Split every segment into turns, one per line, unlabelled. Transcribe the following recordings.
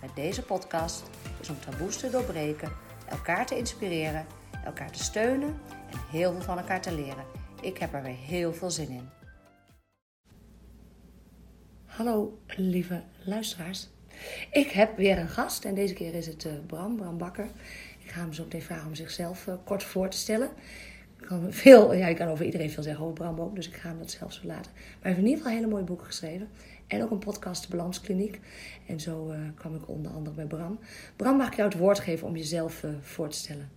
met deze podcast is om taboes te doorbreken, elkaar te inspireren, elkaar te steunen en heel veel van elkaar te leren. Ik heb er weer heel veel zin in. Hallo lieve luisteraars. Ik heb weer een gast en deze keer is het eh, Bram, Bram Bakker. Ik ga hem zo meteen vragen om zichzelf eh, kort voor te stellen. Ik kan veel, ja, ik kan over iedereen veel zeggen, over Bram ook, dus ik ga hem dat zelf zo laten. Maar hij heeft in ieder geval hele mooie boeken geschreven. En ook een podcast, de Balanskliniek. En zo eh, kwam ik onder andere bij Bram. Bram, mag ik jou het woord geven om jezelf eh, voor te stellen?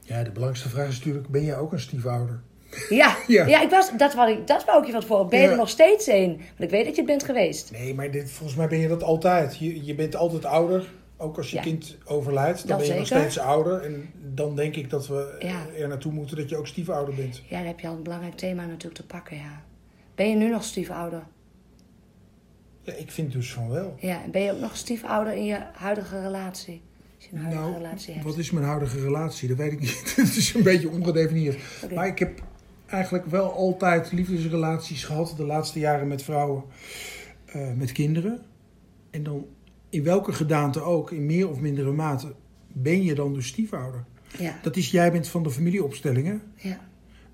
Ja, de belangrijkste vraag is natuurlijk, ben jij ook een stiefouder?
Ja, ja.
Ja.
ik was, dat, wou ik, dat wou ik je van tevoren. Ben je
Ja.
er nog steeds een? Want ik weet dat je het bent geweest.
Nee, maar dit, volgens mij ben je dat altijd. Je, je bent altijd ouder. Ook als je
Ja.
kind overlijdt, dan
Dat
ben je nog
zeker.
steeds ouder. En dan denk ik dat we
Ja.
eh, er naartoe moeten dat je ook stiefouder bent.
Ja, daar heb je al een belangrijk thema natuurlijk te pakken, ja. Ben je nu nog stiefouder?
Ja, ik vind dus van wel.
Ja, en ben je ook nog stiefouder in je huidige relatie? Als je een huidige
Nou,
relatie hebt.
wat is mijn huidige relatie? Dat weet ik niet. Het is een beetje ongedefinieerd.
Oké.
Maar ik heb eigenlijk wel altijd liefdesrelaties gehad. De laatste jaren met vrouwen, eh, met kinderen. En dan in welke gedaante ook, in meer of mindere mate, ben je dan dus stiefouder.
Ja,
Dat is, jij bent van de familieopstellingen.
ja,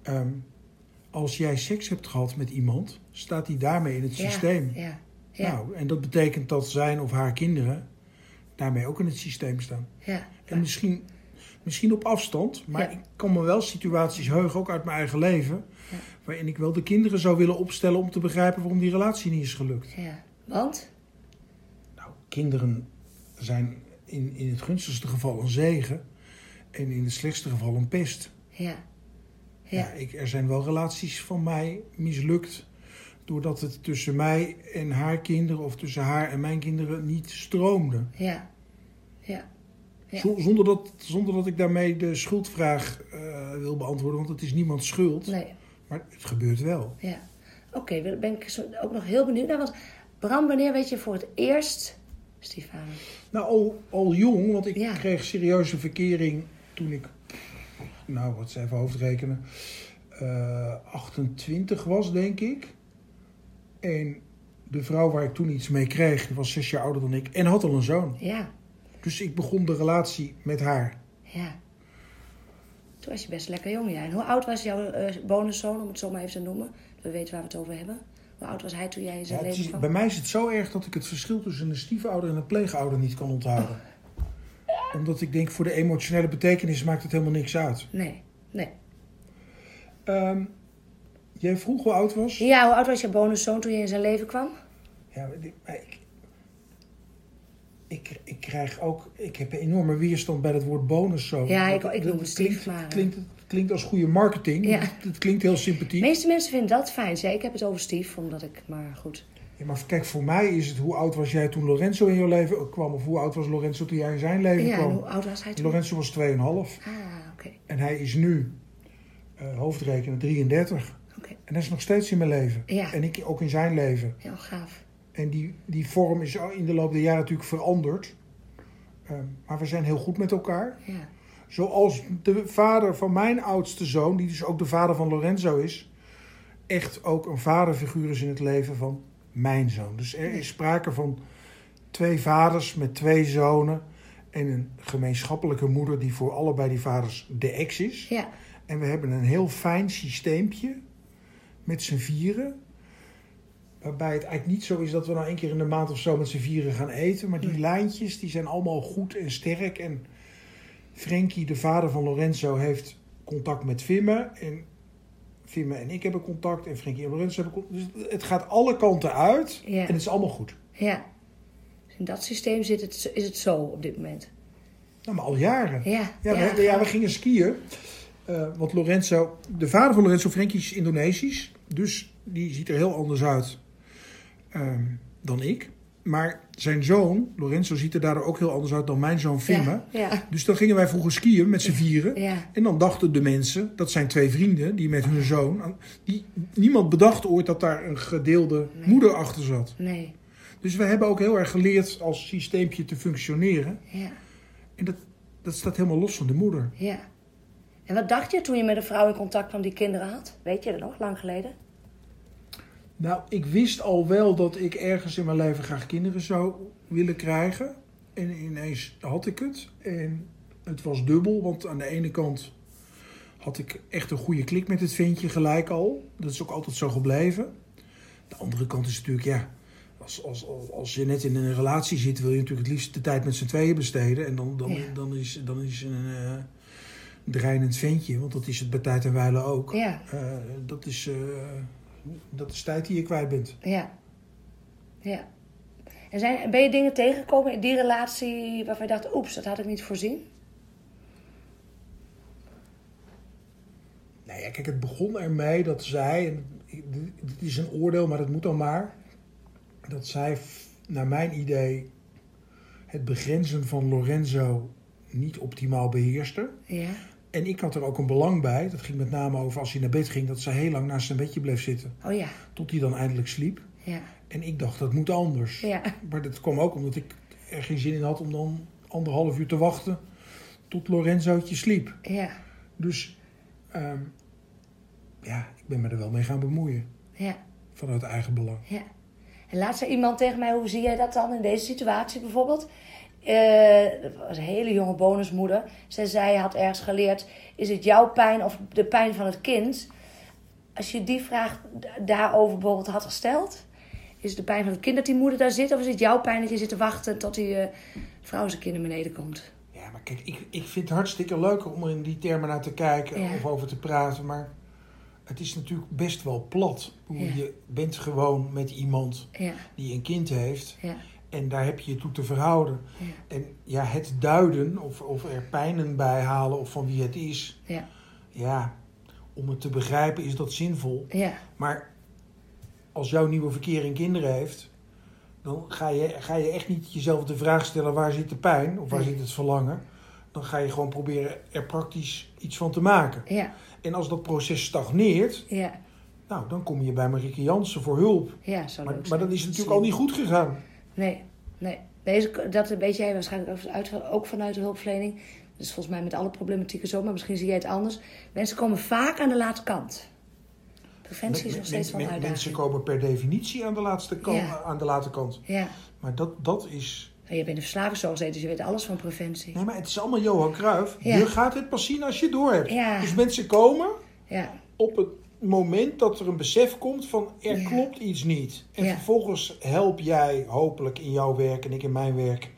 Ehm, als jij seks hebt gehad met iemand, staat die daarmee in het
ja.
systeem.
Ja, ja,
Nou, en dat betekent dat zijn of haar kinderen daarmee ook in het systeem staan.
ja.
En misschien, misschien op afstand, maar
Ja.
ik kan me wel situaties heugen, ook uit mijn eigen leven,
Ja.
waarin ik wel de kinderen zou willen opstellen om te begrijpen waarom die relatie niet is gelukt.
ja. Want?
Nou, kinderen zijn in, in het gunstigste geval een zegen en in het slechtste geval een pest.
Ja.
Ja.
Ja,
ik, er zijn wel relaties van mij mislukt doordat het tussen mij en haar kinderen of tussen haar en mijn kinderen niet stroomde.
ja, ja. Ja.
Zo- Zonder, dat, zonder dat ik daarmee de schuldvraag eh, wil beantwoorden, want het is niemands schuld.
Nee,
Maar het gebeurt wel.
ja. Oké, daar ben ik zo- ook nog heel benieuwd naar. Want Bram, wanneer weet je voor het eerst stiefvader?
Nou, al, al jong, want ik
Ja.
kreeg serieuze verkering toen ik, nou, wat ze even hoofdrekenen, eh 28 was, denk ik. En de vrouw waar ik toen iets mee kreeg, die was zes jaar ouder dan ik en had al een zoon.
Ja,
Dus ik begon de relatie met haar.
ja. Toen was je best lekker jong, ja. En hoe oud was jouw eh, bonuszoon, om het zo maar even te noemen? We weten waar we het over hebben. Hoe oud was hij toen jij in
Ja,
zijn
het
leven
is-
kwam?
bij mij is het zo erg dat ik het verschil tussen een stiefouder en een pleegouder niet kan onthouden. Omdat ik denk, voor de emotionele betekenis maakt het helemaal niks uit.
Nee, nee.
Ehm, jij vroeg hoe oud was?
Ja, hoe oud was je bonuszoon toen je in zijn leven kwam?
Ja, maar dit- maar ik, ik, ik krijg ook... Ik heb een enorme weerstand bij dat woord bonus zo.
Ja, ik-
Dat-
ik
dat-
noem het
dat klinkt,
stiefvader.
het klinkt, het klinkt als goede marketing.
Ja.
Het, het klinkt heel
De
sympathiek.
meeste mensen vinden dat fijn. Zeg, ik heb het over Stief, omdat ik... Maar goed.
Ja, maar kijk, voor mij is het hoe oud was jij toen Lorenzo in jouw leven kwam... of hoe oud was Lorenzo toen jij in zijn leven
Ja, en
kwam.
hoe oud was hij toen?
Lorenzo was 2,5
Ah, oké.
en hij is nu, eh hoofdrekenen, 33.
Oké.
En dat is nog steeds in mijn leven.
Ja.
En ik ook in zijn leven.
Heel gaaf.
En die, die vorm is in de loop der jaren natuurlijk veranderd. Ehm, maar we zijn heel goed met elkaar.
Ja.
Zoals de vader van mijn oudste zoon, die dus ook de vader van Lorenzo is, echt ook een vaderfiguur is in het leven van mijn zoon. Dus er is sprake van twee vaders met twee zonen en een gemeenschappelijke moeder die voor allebei die vaders de ex is.
Ja.
En we hebben een heel fijn systeempje met z'n vieren. Waarbij het eigenlijk niet zo is dat we nou één keer in de maand of zo met z'n vieren gaan eten. Maar die lijntjes die zijn allemaal goed en sterk. En Frankie, de vader van Lorenzo, heeft contact met Vimme. En Vimme en ik hebben contact. En Frankie en Lorenzo hebben contact. Dus het gaat alle kanten uit.
Ja.
En het is allemaal goed.
Ja. Dus in dat systeem zit het, is het zo op dit moment.
Nou, maar al jaren.
Ja.
Ja, we, ja, we gingen skiën. Eh, want Lorenzo, de vader van Lorenzo Frenkie is Indonesisch. Dus die ziet er heel anders uit ehm, dan ik. Maar zijn zoon, Lorenzo, ziet er daardoor ook heel anders uit dan mijn zoon Vimme.
Ja.
Dus dan gingen wij vroeger skiën met z'n vieren.
Ja.
En dan dachten de mensen, dat zijn twee vrienden die met hun zoon. aan- Die, niemand bedacht ooit dat daar een gedeelde
Nee.
moeder achter zat.
Nee.
Dus we hebben ook heel erg geleerd als systeempje te functioneren.
Ja.
En dat, dat staat helemaal los van de moeder.
Ja. En wat dacht je toen je met een vrouw in contact kwam die kinderen had? Weet je dat nog, lang geleden?
Nou, ik wist al wel dat ik ergens in mijn leven graag kinderen zou willen krijgen. En ineens had ik het. En het was dubbel, want aan de ene kant had ik echt een goede klik met het ventje gelijk al. Dat is ook altijd zo gebleven. De andere kant is natuurlijk, ja, als, als, als- als je net in een relatie zit, wil je natuurlijk het liefst de tijd met z'n tweeën besteden. En dan, dan,
Ja.
dan is, dan is een eh dreinend ventje, want dat is het bij tijd en weilen ook.
Ja.
Eh, dat, is, eh, dat is tijd die je kwijt bent.
Ja. Ja. En zijn, ben je dingen tegengekomen in die relatie waarvan je dacht, oeps, dat had ik niet voorzien?
Nou ja, kijk, het begon ermee dat zij, en ik- dit- dit is een oordeel, maar dat moet dan maar, dat zij f- naar mijn idee het begrenzen van Lorenzo niet optimaal beheerste.
Ja.
En ik had er ook een belang bij, dat ging met name over als hij naar bed ging, dat zij heel lang naast zijn bedje bleef zitten,
Oh ja.
tot hij dan eindelijk sliep.
Ja.
En ik dacht, dat moet anders.
Ja.
Maar dat kwam ook omdat ik er geen zin in had om dan anderhalf uur te wachten tot Lorenzootje sliep.
Ja.
Dus ehm, ja, ik ben me er wel mee gaan bemoeien.
Ja.
Vanuit eigen belang.
Ja. En laatst zei iemand tegen mij, hoe zie jij dat dan in deze situatie bijvoorbeeld? Eh, dat was een hele jonge bonusmoeder. Zij zei, had ergens geleerd, is het jouw pijn of de pijn van het kind? Als je die vraag da- daarover bijvoorbeeld had gesteld... Is het de pijn van het kind dat die moeder daar zit? Of is het jouw pijn dat je zit te wachten tot die eh, vrouw zijn kind naar beneden komt?
Ja, maar kijk, ik, ik vind het hartstikke leuk om er in die termen naar te kijken
Ja.
of over te praten. Maar het is natuurlijk best wel plat. Ik bedoel,
Ja.
Je bent gewoon met iemand
Ja,
die een kind heeft.
ja,
En daar heb je je toe te verhouden.
ja,
En ja, het duiden of, of er pijnen bij halen of van wie het is.
ja,
Ja, om het te begrijpen is dat zinvol.
ja,
Maar als jouw nieuwe verkering kinderen heeft, dan ga je, ga je echt niet jezelf de vraag stellen waar zit de pijn of waar
Nee.
zit het verlangen. Dan ga je gewoon proberen er praktisch iets van te maken.
ja,
En als dat proces stagneert,
ja,
nou, dan kom je bij Marieke Jansen voor hulp.
ja, zou
Maar,
leuk
maar
zijn.
dan is het natuurlijk
Slim.
al niet goed gegaan.
Nee, nee. Deze, dat weet jij waarschijnlijk ook uit, ook vanuit de hulpverlening. Dat is volgens mij met alle problematieken zo, maar misschien zie jij het anders. Mensen komen vaak aan de laatste kant. Preventie is nog
Men-
steeds wel een
men-
uitdaging.
mensen komen per definitie aan de, laatste kant,
Ja.
aan de late kant.
Ja,
Maar dat, dat is...
maar je bent in verslavingszorg gezeten, dus je weet alles van preventie.
Nee, maar het is allemaal Johan Cruijff.
Ja.
Je gaat het pas zien als je het door hebt.
Ja.
Dus mensen komen
Ja,
op het moment dat er een besef komt van er
Ja.
klopt iets niet. En
Ja.
vervolgens help jij hopelijk in jouw werk en ik in mijn werk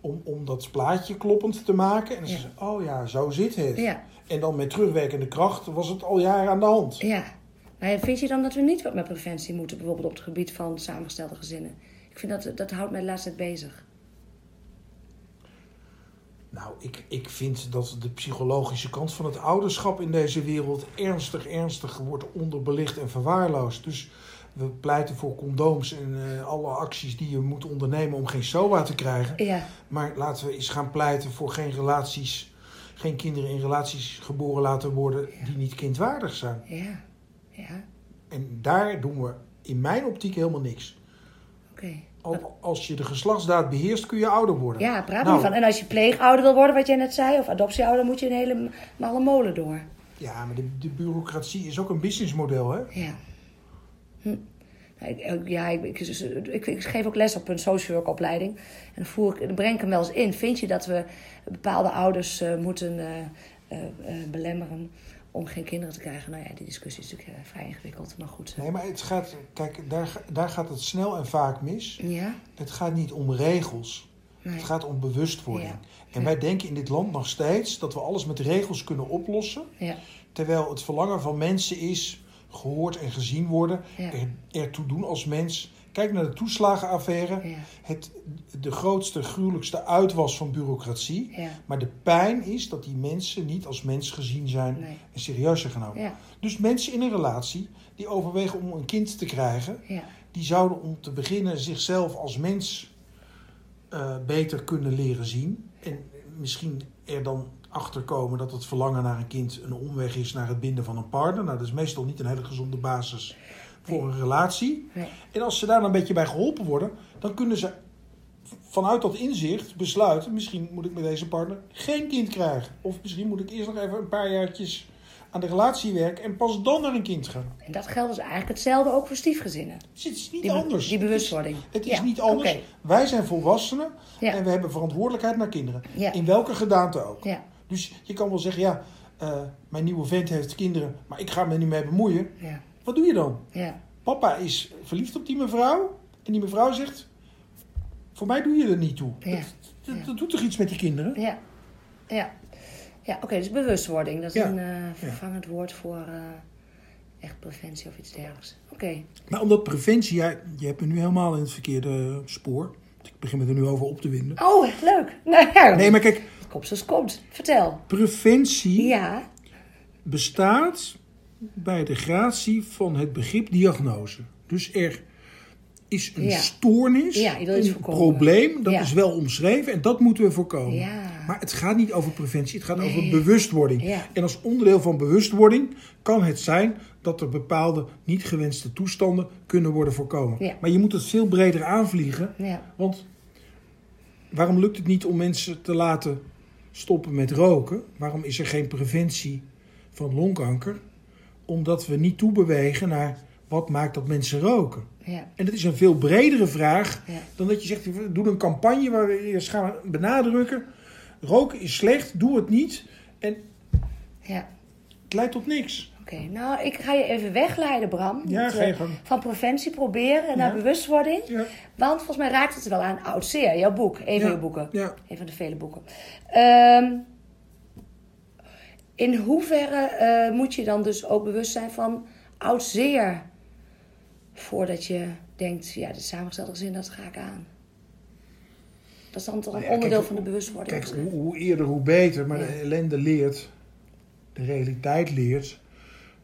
om, om dat plaatje kloppend te maken. En dan
Ja.
zeggen ze, oh ja, zo zit het.
ja,
En dan met terugwerkende kracht was het al jaren aan de hand.
ja. Maar vind je dan dat we niet wat met preventie moeten, bijvoorbeeld op het gebied van samengestelde gezinnen? Ik vind dat, dat houdt mij de laatste tijd bezig.
Nou, ik, ik vind dat de psychologische kant van het ouderschap in deze wereld ernstig, ernstig wordt onderbelicht en verwaarloosd. Dus we pleiten voor condooms en eh, alle acties die je moet ondernemen om geen SOA te krijgen.
Ja,
Maar laten we eens gaan pleiten voor geen relaties, geen kinderen in relaties geboren laten worden die niet kindwaardig zijn.
ja, ja,
En daar doen we in mijn optiek helemaal niks.
oké.
Al- Als je de geslachtsdaad beheerst, kun je ouder worden.
Ja, praat
Nou.
niet van. En als je pleegouder wil worden, wat jij net zei, of adoptieouder, moet je een hele malle molen door.
Ja, maar de, de bureaucratie is ook een businessmodel, hè?
Ja. Hm. Nou, ik- ik- Ja, ik, ik, ik, ik geef ook les op een social work opleiding. En dan, voer ik, dan breng ik hem wel eens in. Vind je dat we bepaalde ouders eh, moeten eh, eh, eh, belemmeren om geen kinderen te krijgen? Nou ja, die discussie is natuurlijk eh, vrij ingewikkeld, maar goed. eh.
Nee, maar het gaat, kijk, daar, ga- daar gaat het snel en vaak mis.
Ja?
Het gaat niet om regels,
Nee.
het gaat om bewustwording.
Ja.
En wij denken in dit land nog steeds dat we alles met regels kunnen oplossen.
Ja,
Terwijl het verlangen van mensen is gehoord en gezien worden,
Ja.
er, ertoe doen als mens. Kijk naar de toeslagenaffaire.
ja,
Het, de grootste, gruwelijkste uitwas van bureaucratie.
ja.
Maar de pijn is dat die mensen niet als mens gezien zijn
Nee.
en serieus zijn genomen.
Ja,
Dus mensen in een relatie die overwegen om een kind te krijgen,
ja,
die zouden om te beginnen zichzelf als mens eh, beter kunnen leren zien. En misschien er dan achter komen dat het verlangen naar een kind een omweg is naar het binden van een partner. Nou, dat is meestal niet een hele gezonde basis voor een relatie.
Nee.
En als ze daar dan een beetje bij geholpen worden, dan kunnen ze vanuit dat inzicht besluiten: misschien moet ik met deze partner geen kind krijgen. Of misschien moet ik eerst nog even een paar jaartjes aan de relatie werken en pas dan naar een kind gaan.
En dat geldt dus eigenlijk hetzelfde ook voor stiefgezinnen.
Dus het is niet
Die, be-
anders.
Die bewustwording.
Het is
Ja,
niet anders.
oké.
Wij zijn volwassenen
Ja.
en we hebben verantwoordelijkheid naar kinderen.
Ja.
In welke gedaante ook.
Ja,
Dus je kan wel zeggen, ja, eh, mijn nieuwe vent heeft kinderen, maar ik ga me er niet mee bemoeien.
ja,
Wat doe je dan?
ja.
Papa is verliefd op die mevrouw en die mevrouw zegt, voor mij doe je er niet toe.
Ja.
Dat, dat-
Ja.
dat doet toch iets met die kinderen?
Ja, ja. ja oké, dus bewustwording. Dat is
Ja.
een eh, vervangend woord voor eh, echt preventie of iets dergelijks. Oké,
Maar omdat preventie, ja, je hebt me nu helemaal in het verkeerde spoor. Ik begin me er nu over op te winden.
oh, leuk. Nou ja,
Nee, maar kijk,
komt zoals komt. Vertel.
preventie
Ja,
bestaat bij de gratie van het begrip diagnose. Dus er is een
Ja.
stoornis,
Ja, je wil iets
een
voorkomen.
probleem, dat
Ja.
is wel omschreven en dat moeten we voorkomen.
Ja.
Maar het gaat niet over preventie, het gaat over
Nee.
bewustwording.
Ja.
En als onderdeel van bewustwording kan het zijn dat er bepaalde niet gewenste toestanden kunnen worden voorkomen.
Ja.
Maar je moet het veel breder aanvliegen,
ja,
want waarom lukt het niet om mensen te laten stoppen met roken? Waarom is er geen preventie van longkanker? Omdat we niet toebewegen naar wat maakt dat mensen roken.
ja,
En dat is een veel bredere vraag
Ja.
dan dat je zegt: doe een campagne waar we eerst gaan benadrukken. Roken is slecht, doe het niet. En
ja.
het leidt tot niks.
Oké, nou, ik ga je even wegleiden, Bram.
Ja,
Want,
ga je
eh,
gang.
Van preventie proberen naar
Ja.
bewustwording.
Ja.
Want volgens mij raakt het er wel aan. Oud zeer, jouw boek. Een van
Ja,
je boeken.
ja.
Een van de vele boeken. Ehm, in hoeverre eh, moet je dan dus ook bewust zijn van oud zeer? Voordat je denkt, ja, de samengestelde gezin, dat ga ik aan. Dat is dan toch een
Nou ja,
onderdeel
kijk,
van de bewustwording.
Kijk, hoe, hoe eerder hoe beter, maar
Ja.
de ellende leert, de realiteit leert,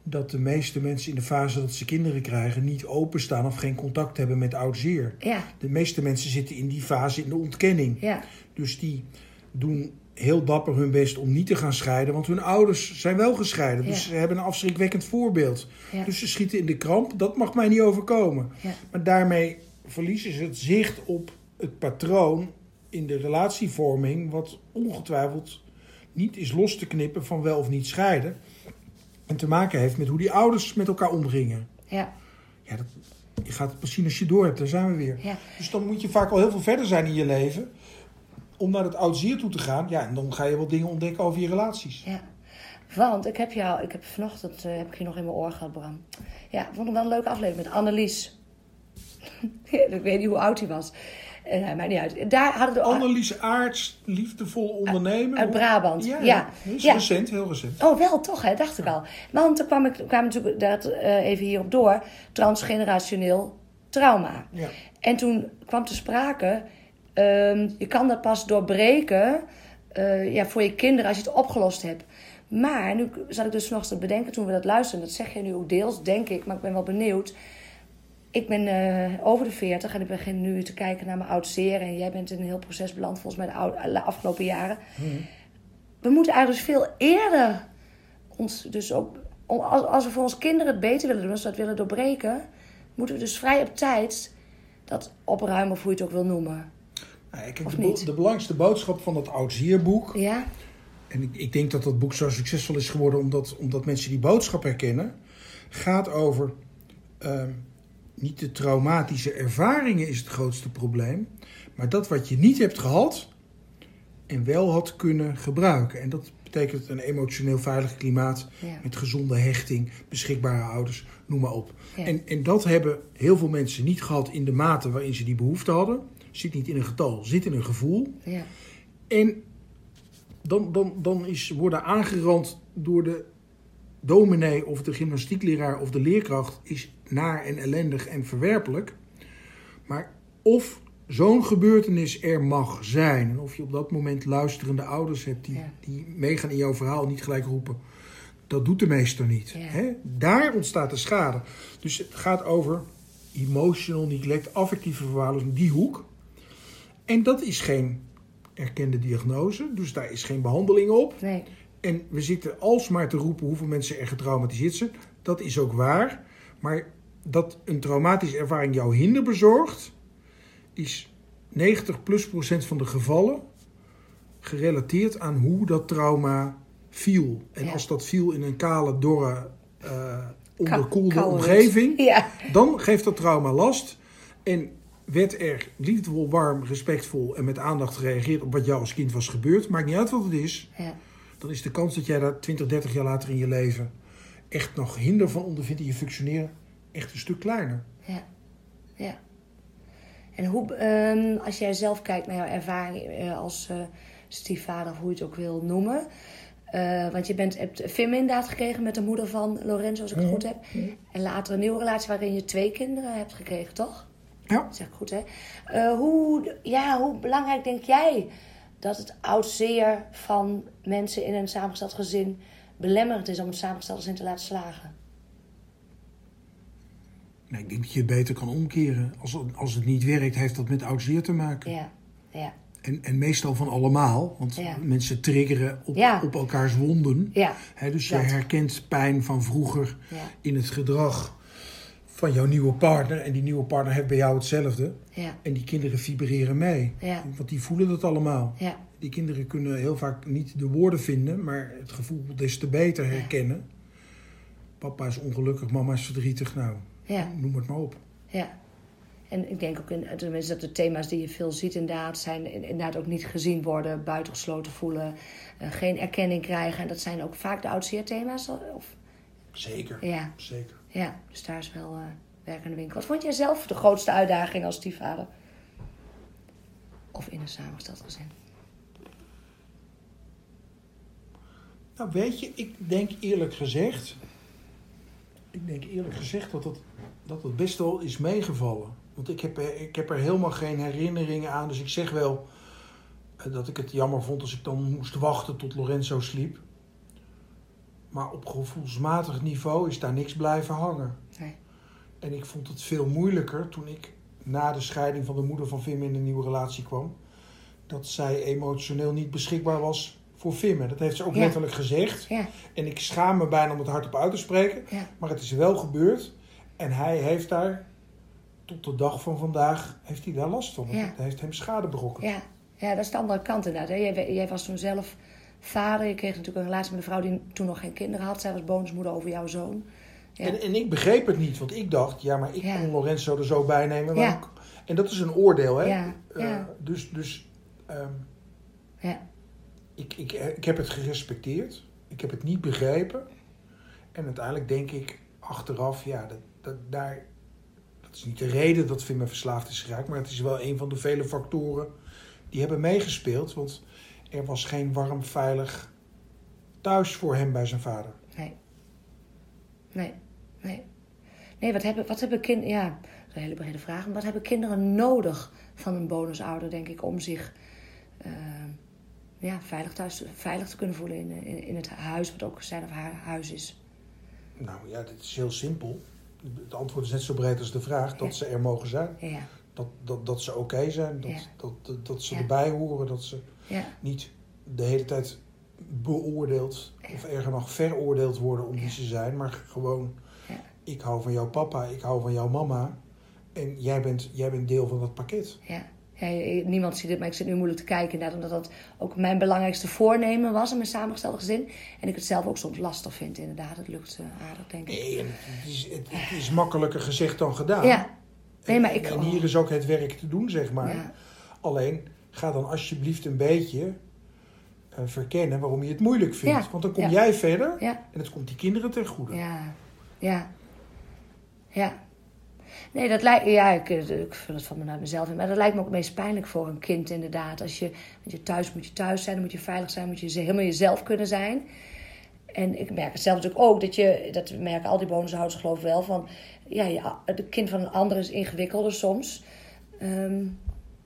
dat de meeste mensen in de fase dat ze kinderen krijgen niet openstaan of geen contact hebben met oud zeer.
Ja,
De meeste mensen zitten in die fase in de ontkenning.
ja,
Dus die doen heel dapper hun best om niet te gaan scheiden, want hun ouders zijn wel gescheiden. Dus
Ja.
ze hebben een afschrikwekkend voorbeeld.
Ja.
Dus ze schieten in de kramp, dat mag mij niet overkomen.
ja,
Maar daarmee verliezen ze het zicht op het patroon in de relatievorming, wat ongetwijfeld niet is los te knippen van wel of niet scheiden. En te maken heeft met hoe die ouders met elkaar omgingen.
ja,
Ja, dat, je gaat het pas zien als je door hebt, daar zijn we weer.
ja.
Dus dan moet je vaak al heel veel verder zijn in je leven om naar het oud-zeer toe te gaan. Ja, en dan ga je wel dingen ontdekken over je relaties.
Ja, want ik heb jou, ik heb vanochtend eh, heb ik je nog in mijn oor gehad, Bram. Ja, ik vond hem wel een leuke aflevering met Annelies. ik weet niet hoe oud hij was. Eh, nou, maakt niet uit. Daar hadden we
Annelies Aarts, liefdevol ondernemen.
uit Brabant,
Ja,
ja.
Dat is
Ja.
recent, heel recent.
Oh, wel toch, hè? dacht ik al. Want toen kwam ik kwam natuurlijk dat, eh, even hierop door. Transgenerationeel trauma.
Ja.
En toen kwam te sprake, ehm, je kan dat pas doorbreken eh, ja, voor je kinderen als je het opgelost hebt. Maar nu zat ik dus nog te bedenken toen we dat luisterden. Dat zeg je nu ook deels, denk ik, maar ik ben wel benieuwd. Ik ben eh, over de 40 en ik begin nu te kijken naar mijn oud zeer. En jij bent in een heel proces beland volgens mij de ou- de afgelopen jaren. We moeten eigenlijk dus veel eerder ons dus ook... om- als, als we voor ons kinderen het beter willen doen, als we dat willen doorbreken... moeten we dus vrij op tijd dat opruimen of hoe je het ook wil noemen.
Nou, ja, kijk,
Of
de, bo-
niet?
de belangrijkste boodschap van het Oud-Zierboek.
Ja?
En ik, ik denk dat dat boek zo succesvol is geworden omdat, omdat mensen die boodschap herkennen. Gaat over ehm, niet de traumatische ervaringen is het grootste probleem. Maar dat wat je niet hebt gehad en wel had kunnen gebruiken. En dat betekent een emotioneel veilig klimaat
Ja.
met gezonde hechting, beschikbare ouders, noem maar op.
Ja.
En, en dat hebben heel veel mensen niet gehad in de mate waarin ze die behoefte hadden. Zit niet in een getal, zit in een gevoel.
Ja.
En dan, dan, dan is worden aangerand door de dominee of de gymnastiekleraar of de leerkracht is naar en ellendig en verwerpelijk. Maar of zo'n gebeurtenis er mag zijn en of je op dat moment luisterende ouders hebt die,
Ja.
die meegaan in jouw verhaal en niet gelijk roepen. Dat doet de meester niet.
Ja.
Hè? Daar ontstaat de schade. Dus het gaat over emotional neglect, affectieve verwaarlozing, die hoek. En dat is geen erkende diagnose, dus daar is geen behandeling op.
Nee.
En we zitten alsmaar te roepen hoeveel mensen er getraumatiseerd zijn. Dat is ook waar. Maar dat een traumatische ervaring jou hinder bezorgt, is 90 plus procent van de gevallen gerelateerd aan hoe dat trauma viel. En
Ja.
als dat viel in een kale, dorre, eh onderkoelde
koude
omgeving,
Ja.
dan geeft dat trauma last. En werd er liefdevol, warm, respectvol en met aandacht gereageerd op wat jou als kind was gebeurd. Maakt niet uit wat het is
ja.
dan is de kans dat jij daar 20, 30 jaar later in je leven echt nog hinder van ondervindt in je functioneren echt een stuk kleiner.
Ja, ja. En hoe, ehm, als jij zelf kijkt naar jouw ervaring eh, als eh, stiefvader, of hoe je het ook wil noemen. eh, want je bent, hebt FIM inderdaad gekregen met de moeder van Lorenzo, als ik het goed heb. En later een nieuwe relatie waarin je twee kinderen hebt gekregen, toch?
Ja.
Zeg ik goed, hè? Eh, hoe, ja, hoe belangrijk denk jij dat het oud zeer van mensen in een samengesteld gezin belemmerend is om het samengesteld gezin te laten slagen?
Nee, ik denk dat je het beter kan omkeren. Als, als het niet werkt, heeft dat met oud-zeer te maken.
Ja, ja,
En, en meestal van allemaal, want
Ja.
mensen triggeren op,
Ja.
op elkaars wonden.
ja,
Hè, dus je
Dat.
herkent pijn van vroeger
Ja.
in het gedrag van jouw nieuwe partner. En die nieuwe partner heeft bij jou hetzelfde.
ja,
En die kinderen vibreren mee.
Ja.
Want die voelen dat allemaal.
ja.
Die kinderen kunnen heel vaak niet de woorden vinden, maar het gevoel des te beter herkennen. Papa is ongelukkig, mama is verdrietig. Nou,
ja.
noem het maar op.
Ja. En ik denk ook in, tenminste dat de thema's die je veel ziet inderdaad zijn in- inderdaad ook niet gezien worden, buitengesloten voelen, eh, geen erkenning krijgen. En dat zijn ook vaak de oudseerthema's. Of,
Zeker.
ja,
Zeker.
ja, dus daar is wel eh, werk aan de winkel. Wat vond jij zelf de grootste uitdaging als stiefvader? Of in een samengesteld gezin?
Nou, weet je, ik denk eerlijk gezegd. Ik denk eerlijk gezegd dat dat, dat dat best wel is meegevallen. Want ik heb, er- ik heb er helemaal geen herinneringen aan. Dus ik zeg wel eh, dat ik het jammer vond als ik dan moest wachten tot Lorenzo sliep. Maar op gevoelsmatig niveau is daar niks blijven hangen.
Nee.
En ik vond het veel moeilijker toen ik na de scheiding van de moeder van Vim in een nieuwe relatie kwam. Dat zij emotioneel niet beschikbaar was voor Vim. En dat heeft ze ook
Ja.
letterlijk gezegd.
Ja,
En ik schaam me bijna om het hardop uit te spreken.
ja,
Maar het is wel gebeurd. En hij heeft daar, tot de dag van vandaag, heeft hij daar last van.
Ja.
Het heeft hem schade berokkend.
ja. Ja, dat is de andere kant inderdaad. Hè. Jij, we- jij was toen zelf vader. Je kreeg natuurlijk een relatie met een vrouw die toen nog geen kinderen had. Zij was bonusmoeder over jouw zoon. Ja.
En, en ik begreep het niet. Want ik dacht, ja, maar ik
Ja.
kon Lorenzo er zo bij nemen.
Ja.
waarom- En dat is een oordeel, hè?
Ja,
Eh,
ja.
Dus, dus ehm,
Ja.
ik, ik, ik heb het gerespecteerd. Ik heb het niet begrepen. En uiteindelijk denk ik achteraf, ja, dat, dat, daar, dat is niet de reden dat Vim me verslaafd is geraakt. Maar het is wel een van de vele factoren die hebben meegespeeld. Want er was geen warm, veilig thuis voor hem bij zijn vader.
Nee. Nee, nee. Nee, wat hebben, wat hebben kinderen... Ja, dat is een hele brede vraag. Maar wat hebben kinderen nodig van een bonusouder, denk ik... om zich eh, ja, veilig, thuis, veilig te kunnen voelen in, in, in het huis... wat ook zijn of haar huis is.
Nou ja, dit is heel simpel. Het antwoord is net zo breed als de vraag. Dat
Ja.
ze er mogen zijn.
Ja, ja.
Dat, dat, dat ze oké zijn. Dat,
Ja.
dat, dat, dat ze
Ja.
erbij horen. Dat ze
ja.
niet de hele tijd beoordeeld of erger nog veroordeeld worden om wie
Ja.
ze zijn, maar gewoon
Ja.
ik hou van jouw papa, ik hou van jouw mama en jij bent, jij bent deel van dat pakket.
Ja. Ja, je- je- niemand ziet het, maar ik zit nu moeilijk te kijken. Inderdaad, omdat dat ook mijn belangrijkste voornemen was in mijn samengestelde gezin. En ik het zelf ook soms lastig vind, inderdaad. Het lukt eh, aardig, denk ik.
Nee, en het is, het, het is makkelijker gezegd dan gedaan.
Ja. Nee, maar
En-
ik...
En hier is ook het werk te doen, zeg maar.
Ja.
Alleen ga dan alsjeblieft een beetje eh, verkennen waarom je het moeilijk vindt.
Ja.
Want dan kom
Ja.
jij verder
Ja.
en het komt die kinderen ten goede.
Ja, ja, ja. Nee, dat lijkt. Ja, ik, eh, ik vul het van me naar mezelf in. Maar dat lijkt me ook het meest pijnlijk voor een kind, inderdaad. Als je, want je thuis moet je thuis zijn, dan moet je veilig zijn, moet je ze- helemaal jezelf kunnen zijn. En ik merk het zelf natuurlijk ook, dat, je, dat merken al die bonushouders geloof ik wel, van ja, ja, het kind van een ander is ingewikkelder soms. Ehm,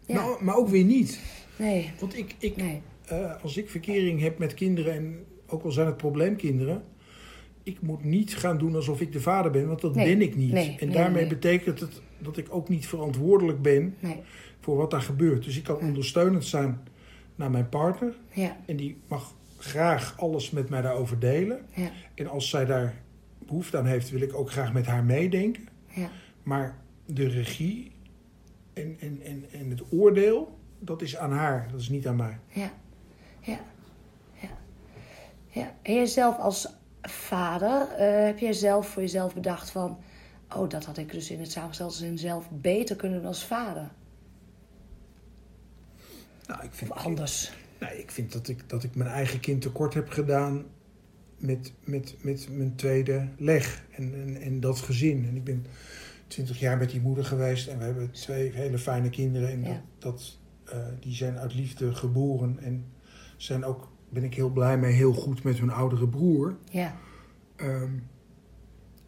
Ja.
Nou, maar ook weer niet.
nee,
Want ik, ik,
nee,
Eh, als ik verkering heb met kinderen, en ook al zijn het probleemkinderen, ik moet niet gaan doen alsof ik de vader ben, want dat
Nee,
ben ik niet.
nee,
en
nee,
daarmee
nee.
betekent het dat ik ook niet verantwoordelijk ben
Nee.
voor wat daar gebeurt. Dus ik kan ondersteunend zijn naar mijn partner.
Ja.
En die mag graag alles met mij daarover delen.
Ja.
En als zij daar behoefte aan heeft, wil ik ook graag met haar meedenken.
Ja.
Maar de regie en, en, en, en het oordeel, dat is aan haar, dat is niet aan mij.
Ja, ja, ja. ja. En jijzelf als vader, eh, heb jij zelf voor jezelf bedacht van... oh, dat had ik dus in het samengestelde zin zelf beter kunnen doen als vader.
Nou, ik
Of
vind,
anders.
nou, ik vind dat, ik, dat ik mijn eigen kind tekort heb gedaan met, met, met mijn tweede leg en, en, en dat gezin. En ik ben twintig jaar met die moeder geweest en we hebben twee hele fijne kinderen. En
Ja.
dat, dat, eh, die zijn uit liefde geboren en zijn ook, ben ik heel blij mee, heel goed met hun oudere broer.
Ja,
Ehm,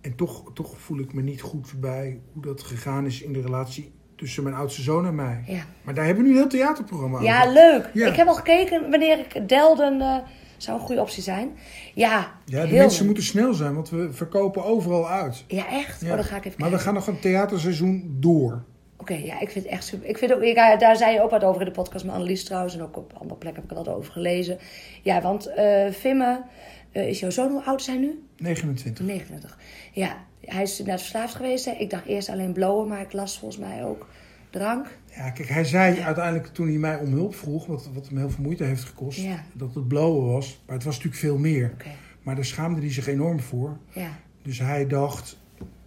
en toch, toch voel ik me niet goed bij hoe dat gegaan is in de relatie tussen mijn oudste zoon en mij.
ja.
Maar daar hebben we nu een heel theaterprogramma
Ja,
over.
leuk.
Ja.
Ik heb al gekeken wanneer ik Delden... eh, zou een goede optie zijn. Ja,
Ja, de
heel
mensen
leuk.
moeten snel zijn, want we verkopen overal uit.
Ja, echt?
Ja.
Oh, dan ga ik even
maar we
kijken.
gaan nog een theaterseizoen door.
Oké, ja, ik vind het echt super. Ik vind ook, ja, daar zei je ook wat over in de podcast met Annelies trouwens. En ook op andere plekken heb ik er wat over gelezen. Ja, want eh Vimme, eh, is jouw zoon hoe oud is hij nu?
29.
29. Ja, hij is inderdaad verslaafd geweest. Hè? Ik dacht eerst alleen blowen, maar ik las volgens mij ook drank.
Ja, kijk, hij zei uiteindelijk toen hij mij om hulp vroeg, wat, wat hem heel veel moeite heeft gekost,
Ja.
dat het blowen was. Maar het was natuurlijk veel meer.
Oké,
Maar daar schaamde hij zich enorm voor.
ja,
Dus hij dacht,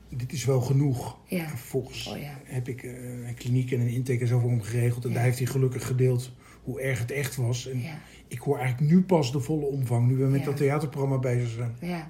dit is wel genoeg.
ja.
En vervolgens
Oh ja.
heb ik eh, een kliniek en een intake en zo voor hem geregeld. En
Ja.
daar heeft hij gelukkig gedeeld hoe erg het echt was. En
Ja,
ik hoor eigenlijk nu pas de volle omvang, nu we met
Ja.
dat theaterprogramma bezig zijn.
ja.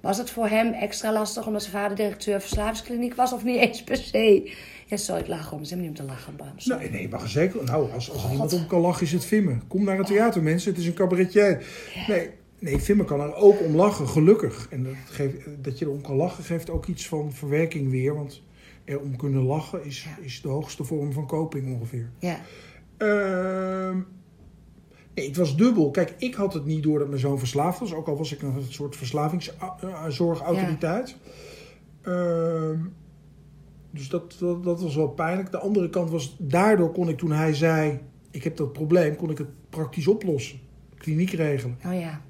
Was het voor hem extra lastig omdat zijn vader directeur verslavingskliniek was of niet eens per se? Ja, sorry, ik lach om. Ze hebben niet om te lachen, Bram. Sorry.
Nee, Nou, nee, maar zeker. Nou, als, als er iemand om kan lachen, is het Vimmen. Kom naar het theater, mensen. Het is een cabaretier. Nee, nee Vimmen kan er ook om lachen, gelukkig. En dat, geeft, dat je erom kan lachen, geeft ook iets van verwerking weer. Want erom kunnen lachen is,
Ja.
is de hoogste vorm van coping ongeveer.
Ja,
Ehm, nee, het was dubbel. Kijk, ik had het niet door dat mijn zoon verslaafd was. Ook al was ik een soort verslavingszorgautoriteit. Ehm, dus dat, dat, dat was wel pijnlijk. De andere kant was, daardoor kon ik toen hij zei... ik heb dat probleem, kon ik het praktisch oplossen. Kliniek regelen.
oh ja.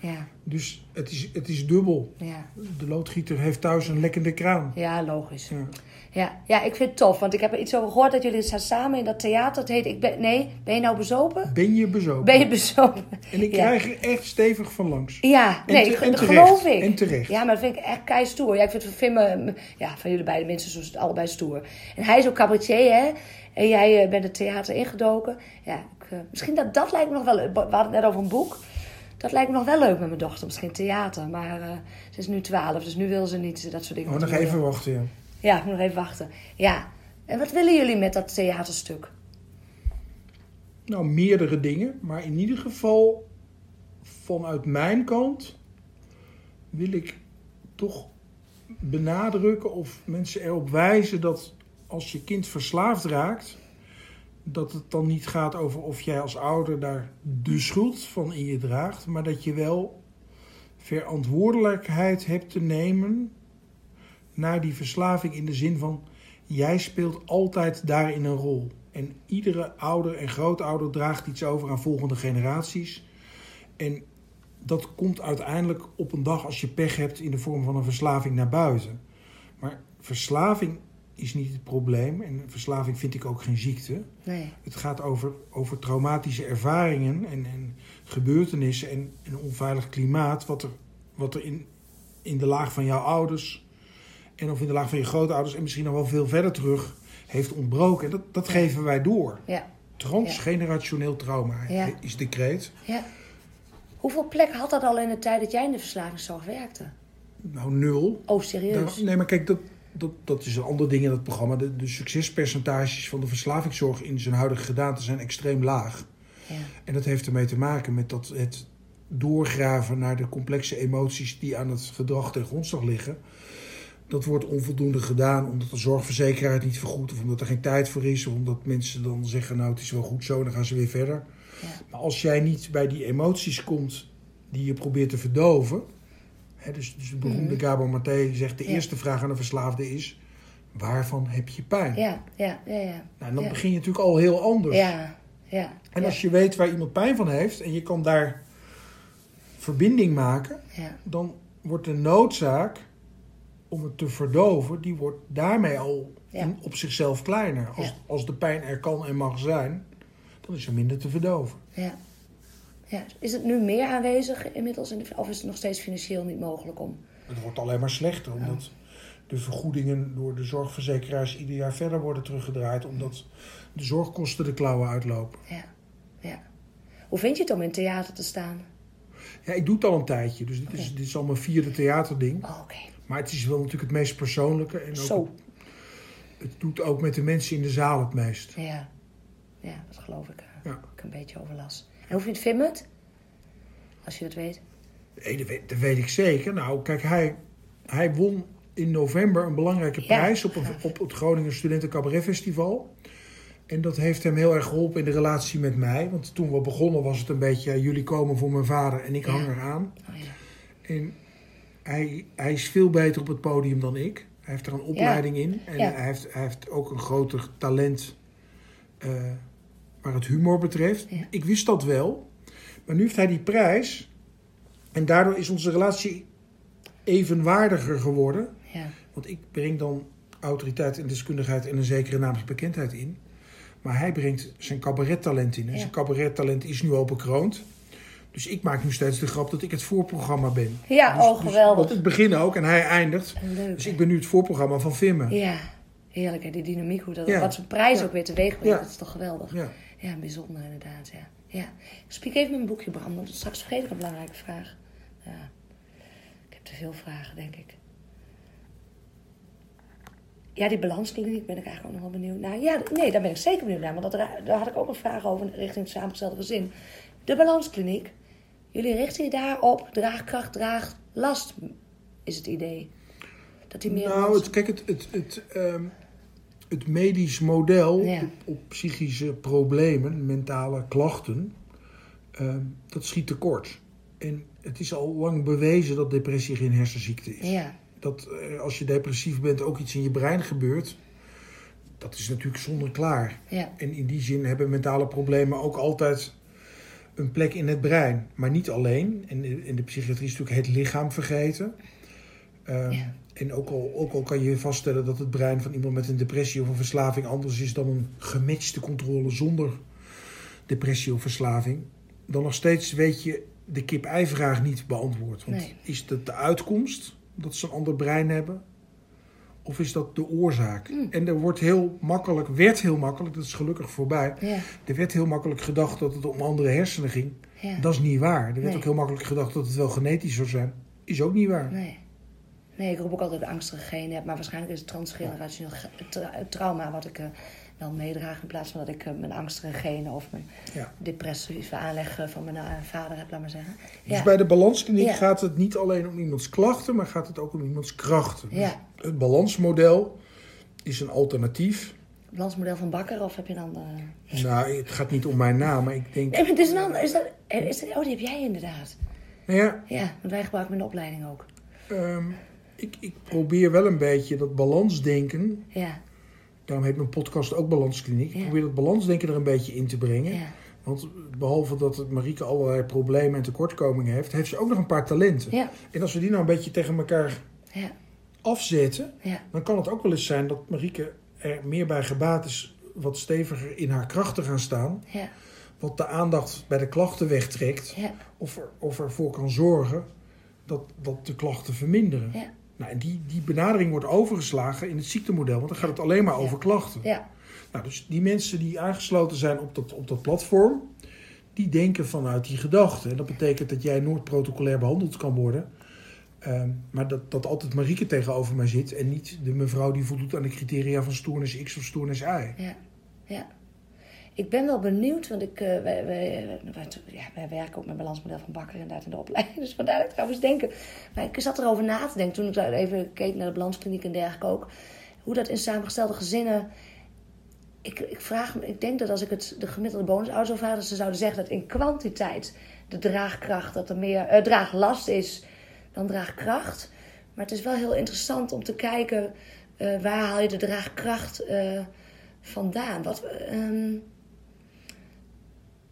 Ja,
Dus het is, het is dubbel.
ja.
De loodgieter heeft thuis een lekkende kraan.
Ja, logisch.
Ja.
Ja, ja, ik vind het tof. Want ik heb er iets over gehoord dat jullie staan samen in dat theater. Dat heet Ik ben... Nee, ben je nou bezopen?
Ben je bezopen?
Ben je bezopen?
En ik
Ja.
krijg er echt stevig van langs.
Ja,
En
nee,
te-
ik-
en
dat
terecht.
geloof ik.
En terecht.
Ja, maar dat vind ik echt kei stoer. Ja, ik vind van Vimme, ja, van jullie beide mensen, zoals het allebei stoer. En hij is ook cabaretier, hè? En jij eh, bent het theater ingedoken. Ja, ik, eh, misschien dat, dat lijkt me nog wel leuk. We hadden het net over een boek. Dat lijkt me nog wel leuk met mijn dochter. Misschien theater, maar eh, ze is nu 12, dus nu wil ze niet eh, dat soort dingen.
Oh, nog
doen.
even wachten, ja.
Ja, ik moet nog even wachten. Ja. En wat willen jullie met dat theaterstuk?
Nou, meerdere dingen. Maar in ieder geval, vanuit mijn kant, wil ik toch benadrukken of mensen erop wijzen dat als je kind verslaafd raakt, dat het dan niet gaat over of jij als ouder daar de schuld van in je draagt, maar dat je wel verantwoordelijkheid hebt te nemen naar die verslaving in de zin van Jij speelt altijd daarin een rol. En iedere ouder en grootouder draagt iets over aan volgende generaties. En dat komt uiteindelijk op een dag als je pech hebt in de vorm van een verslaving naar buiten. Maar verslaving is niet het probleem. En verslaving vind ik ook geen ziekte.
Nee.
Het gaat over, over traumatische ervaringen en, en gebeurtenissen en een onveilig klimaat. Wat er, wat er in, in de laag van jouw ouders en of in de laag van je grootouders en misschien nog wel veel verder terug heeft ontbroken. En dat, dat geven wij door.
Ja.
Transgenerationeel trauma
Ja.
is de kreet.
ja. Hoeveel plek had dat al in de tijd dat jij in de verslavingszorg werkte?
Nou, nul.
Oh, serieus?
Daar- nee, maar kijk, dat, dat, dat is een ander ding in dat programma. De, de succespercentages van de verslavingszorg in zijn huidige gedaante zijn extreem laag.
Ja.
En dat heeft ermee te maken met dat het doorgraven naar de complexe emoties die aan het gedrag ten grondslag liggen. Dat wordt onvoldoende gedaan omdat de zorgverzekeraar het niet vergoedt, of omdat er geen tijd voor is, of omdat mensen dan zeggen: Nou, het is wel goed zo, en dan gaan ze weer verder.
Ja.
Maar als jij niet bij die emoties komt die je probeert te verdoven. Hè, dus, dus de beroemde Gabo Maté zegt: De
Mhm. Ja.
eerste vraag aan een verslaafde is: Waarvan heb je pijn?
ja, ja, ja, ja.
Nou, en dan
ja.
begin je natuurlijk al heel anders.
Ja, ja.
Dus- En
ja,
als je weet waar iemand pijn van heeft en je kan daar verbinding maken,
ja.
dan wordt de noodzaak om het te verdoven, die wordt daarmee al
Ja.
in- op zichzelf kleiner. Als,
Ja.
als de pijn er kan en mag zijn, dan is er minder te verdoven.
Ja. ja. Is het nu meer aanwezig inmiddels? In de, of is het nog steeds financieel niet mogelijk om?
Het wordt alleen maar slechter, omdat de vergoedingen door de zorgverzekeraars ieder jaar verder worden teruggedraaid, omdat de zorgkosten de klauwen uitlopen.
Ja. ja. Hoe vind je het om in theater te staan?
Ja, ik doe het al een tijdje, dus dit is, dit is al mijn vierde theaterding.
Oh, Oké.
Maar het is wel natuurlijk het meest persoonlijke en ook
Zo.
het doet ook met de mensen in de zaal het meest.
Ja. Ja, dat geloof ik. eh,
Ja.
Ik een beetje overlast. En hoe vind je het? Als je dat weet.
Nee, dat weet, dat weet ik zeker. Nou, kijk, hij, hij won in november een belangrijke
Ja.
prijs op, een- op het Groningen Studenten Cabaret Festival. En dat heeft hem heel erg geholpen in de relatie met mij. Want toen we begonnen was het een beetje, ja, jullie komen voor mijn vader en ik
Ja.
hang eraan.
Oh, ja.
En hij, hij is veel beter op het podium dan ik. Hij heeft er een opleiding in. En
Ja.
hij, heeft, hij heeft ook een groter talent eh, waar het humor betreft.
Ja.
Ik wist dat wel. Maar nu heeft hij die prijs. En daardoor is onze relatie evenwaardiger geworden.
ja.
Want ik breng dan autoriteit en deskundigheid en een zekere naamsbekendheid in. Maar hij brengt zijn cabarettalent in. En
Ja.
zijn cabarettalent is nu al bekroond. Dus ik maak nu steeds de grap dat ik het voorprogramma ben.
Ja,
Dus-
oh,
dus-
geweldig.
want ik begin ook en hij eindigt.
Leuk.
Dus ik ben nu het voorprogramma van Vimmen. Ja.
Ja. Heerlijk, hè? die dynamiek. Hoe dat,
Ja.
Wat zijn prijs
Ja.
ook weer teweeg brengt.
Ja.
Dat is toch geweldig.
Ja.
Ja, bijzonder inderdaad, ja. ja. Ik spreek even mijn boekje, Bram, want straks vergeet ik een belangrijke vraag. Ja. Ik heb te veel vragen, denk ik. Ja, die balanskliniek ben ik eigenlijk ook nog wel benieuwd naar. Ja, nee, daar ben ik zeker benieuwd naar, want dat, daar had ik ook een vraag over richting het samengestelde gezin. De balanskliniek. Jullie richten je daarop, draagkracht, draag last, is het idee. Dat die meer
Nou,
mensen-
het, kijk, het, het, het, ehm, het medisch model
Ja.
op, op psychische problemen, mentale klachten, ehm, dat schiet tekort. En het is al lang bewezen dat depressie geen hersenziekte is.
Ja,
dat eh, als je depressief bent ook iets in je brein gebeurt. Dat is natuurlijk zonder klaar.
ja,
En in die zin hebben mentale problemen ook altijd een plek in het brein. Maar niet alleen. En in de psychiatrie is natuurlijk het lichaam vergeten. Ehm,
Ja.
En ook al, ook al kan je vaststellen dat het brein van iemand met een depressie of een verslaving anders is dan een gematchte controle zonder depressie of verslaving. Dan nog steeds weet je de kip-ei-vraag niet beantwoord. Want
Nee.
is dat de uitkomst dat ze een ander brein hebben? Of is dat de oorzaak?
Mm.
En er wordt heel makkelijk, werd heel makkelijk, dat is gelukkig voorbij.
ja,
Er werd heel makkelijk gedacht dat het om andere hersenen ging.
ja.
Dat is niet waar. Er werd
Nee.
ook heel makkelijk gedacht dat het wel genetisch zou zijn. Is ook niet waar.
Nee. Nee, ik roep ook altijd dat ik angstige genen heb. Maar waarschijnlijk is het transgenerationeel ge- tra- trauma wat ik eh, dan meedraag. In plaats van dat ik eh, mijn angstige genen of mijn
Ja.
depressieve aanleg eh, van mijn eh, vader heb, laat maar zeggen.
Dus
Ja.
bij de balanskliniek
Ja.
gaat het niet alleen om iemands klachten, maar gaat het ook om iemands krachten. Dus
Ja.
het balansmodel is een alternatief.
Balansmodel van Bakker of heb je een andere?
Nou, het gaat niet om mijn naam, maar ik denk.
Nee, maar het is een ander. Is dat, eh, is dat, oh, die heb jij inderdaad.
Nou ja,
Ja, want wij gebruiken mijn opleiding ook.
ehm, ik, ik probeer wel een beetje dat balansdenken.
Ja,
Daarom heet mijn podcast ook Balanskliniek. Ik
Ja.
probeer dat balansdenken er een beetje in te brengen.
ja,
Want behalve dat het Marieke allerlei problemen en tekortkomingen heeft, heeft ze ook nog een paar talenten.
ja,
En als we die nou een beetje tegen elkaar
ja,
afzetten,
ja.
dan kan het ook wel eens zijn dat Marieke er meer bij gebaat is wat steviger in haar kracht te gaan staan.
ja,
Wat de aandacht bij de klachten wegtrekt.
ja.
Of, er, of ervoor kan zorgen dat, dat de klachten verminderen.
Ja.
Nou, en die, die benadering wordt overgeslagen in het ziektemodel, want dan gaat het alleen maar
Ja.
over klachten.
ja.
Nou, dus die mensen die aangesloten zijn op dat, op dat platform, die denken vanuit die gedachte. En dat betekent dat jij nooit protocolair behandeld kan worden. Ehm, maar dat, dat altijd Marieke tegenover mij zit en niet de mevrouw die voldoet aan de criteria van stoornis X of stoornis Y.
Ja, ja. Ik ben wel benieuwd, want ik, eh, wij, wij, wij- ja, wij werken ook met balansmodel van Bakker inderdaad in de opleiding. Dus vandaar dat ik trouwens denken. Maar ik zat erover na te denken toen ik daar even keek naar de balanskliniek en dergelijke ook. Hoe dat in samengestelde gezinnen... Ik, ik, vraag, me- ik denk dat als ik het de gemiddelde bonusouder zou vragen... dat ze zouden zeggen dat in kwantiteit de draagkracht, dat er meer eh, draaglast is dan draagkracht. Maar het is wel heel interessant om te kijken eh, waar haal je de draagkracht eh, vandaan? Wat, ehm,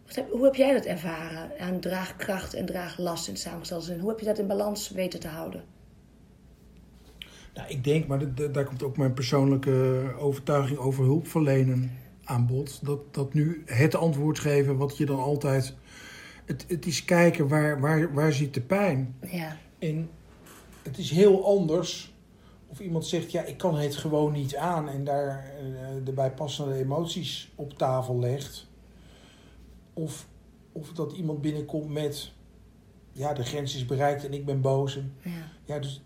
wat heb- hoe heb jij dat ervaren aan draagkracht en draaglast in het samengestelde zin? Hoe heb je dat in balans weten te houden?
Nou, ik denk, maar dat- dat- daar komt ook mijn persoonlijke overtuiging over hulpverlenen aan bod. Dat, dat nu het antwoord geven wat je dan altijd. Het, het is kijken waar, waar, waar zit de pijn.
Ja,
En het is heel anders of iemand zegt: Ja, ik kan het gewoon niet aan. en daar eh, de bijpassende emoties op tafel legt. Of, of dat iemand binnenkomt met: Ja, de grens is bereikt en ik ben boos. en
ja,
ja, dus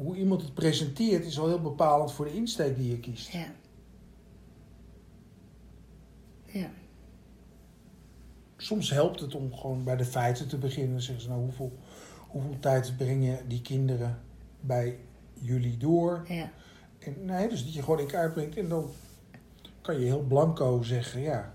hoe iemand het presenteert is al heel bepalend voor de insteek die je kiest.
ja. Ja,
Soms helpt het om gewoon bij de feiten te beginnen. Dan zeggen ze, nou, hoeveel, hoeveel tijd brengen die kinderen bij jullie door?
ja,
En, nee, dus dat je gewoon in kaart brengt en dan kan je heel blanco zeggen, ja.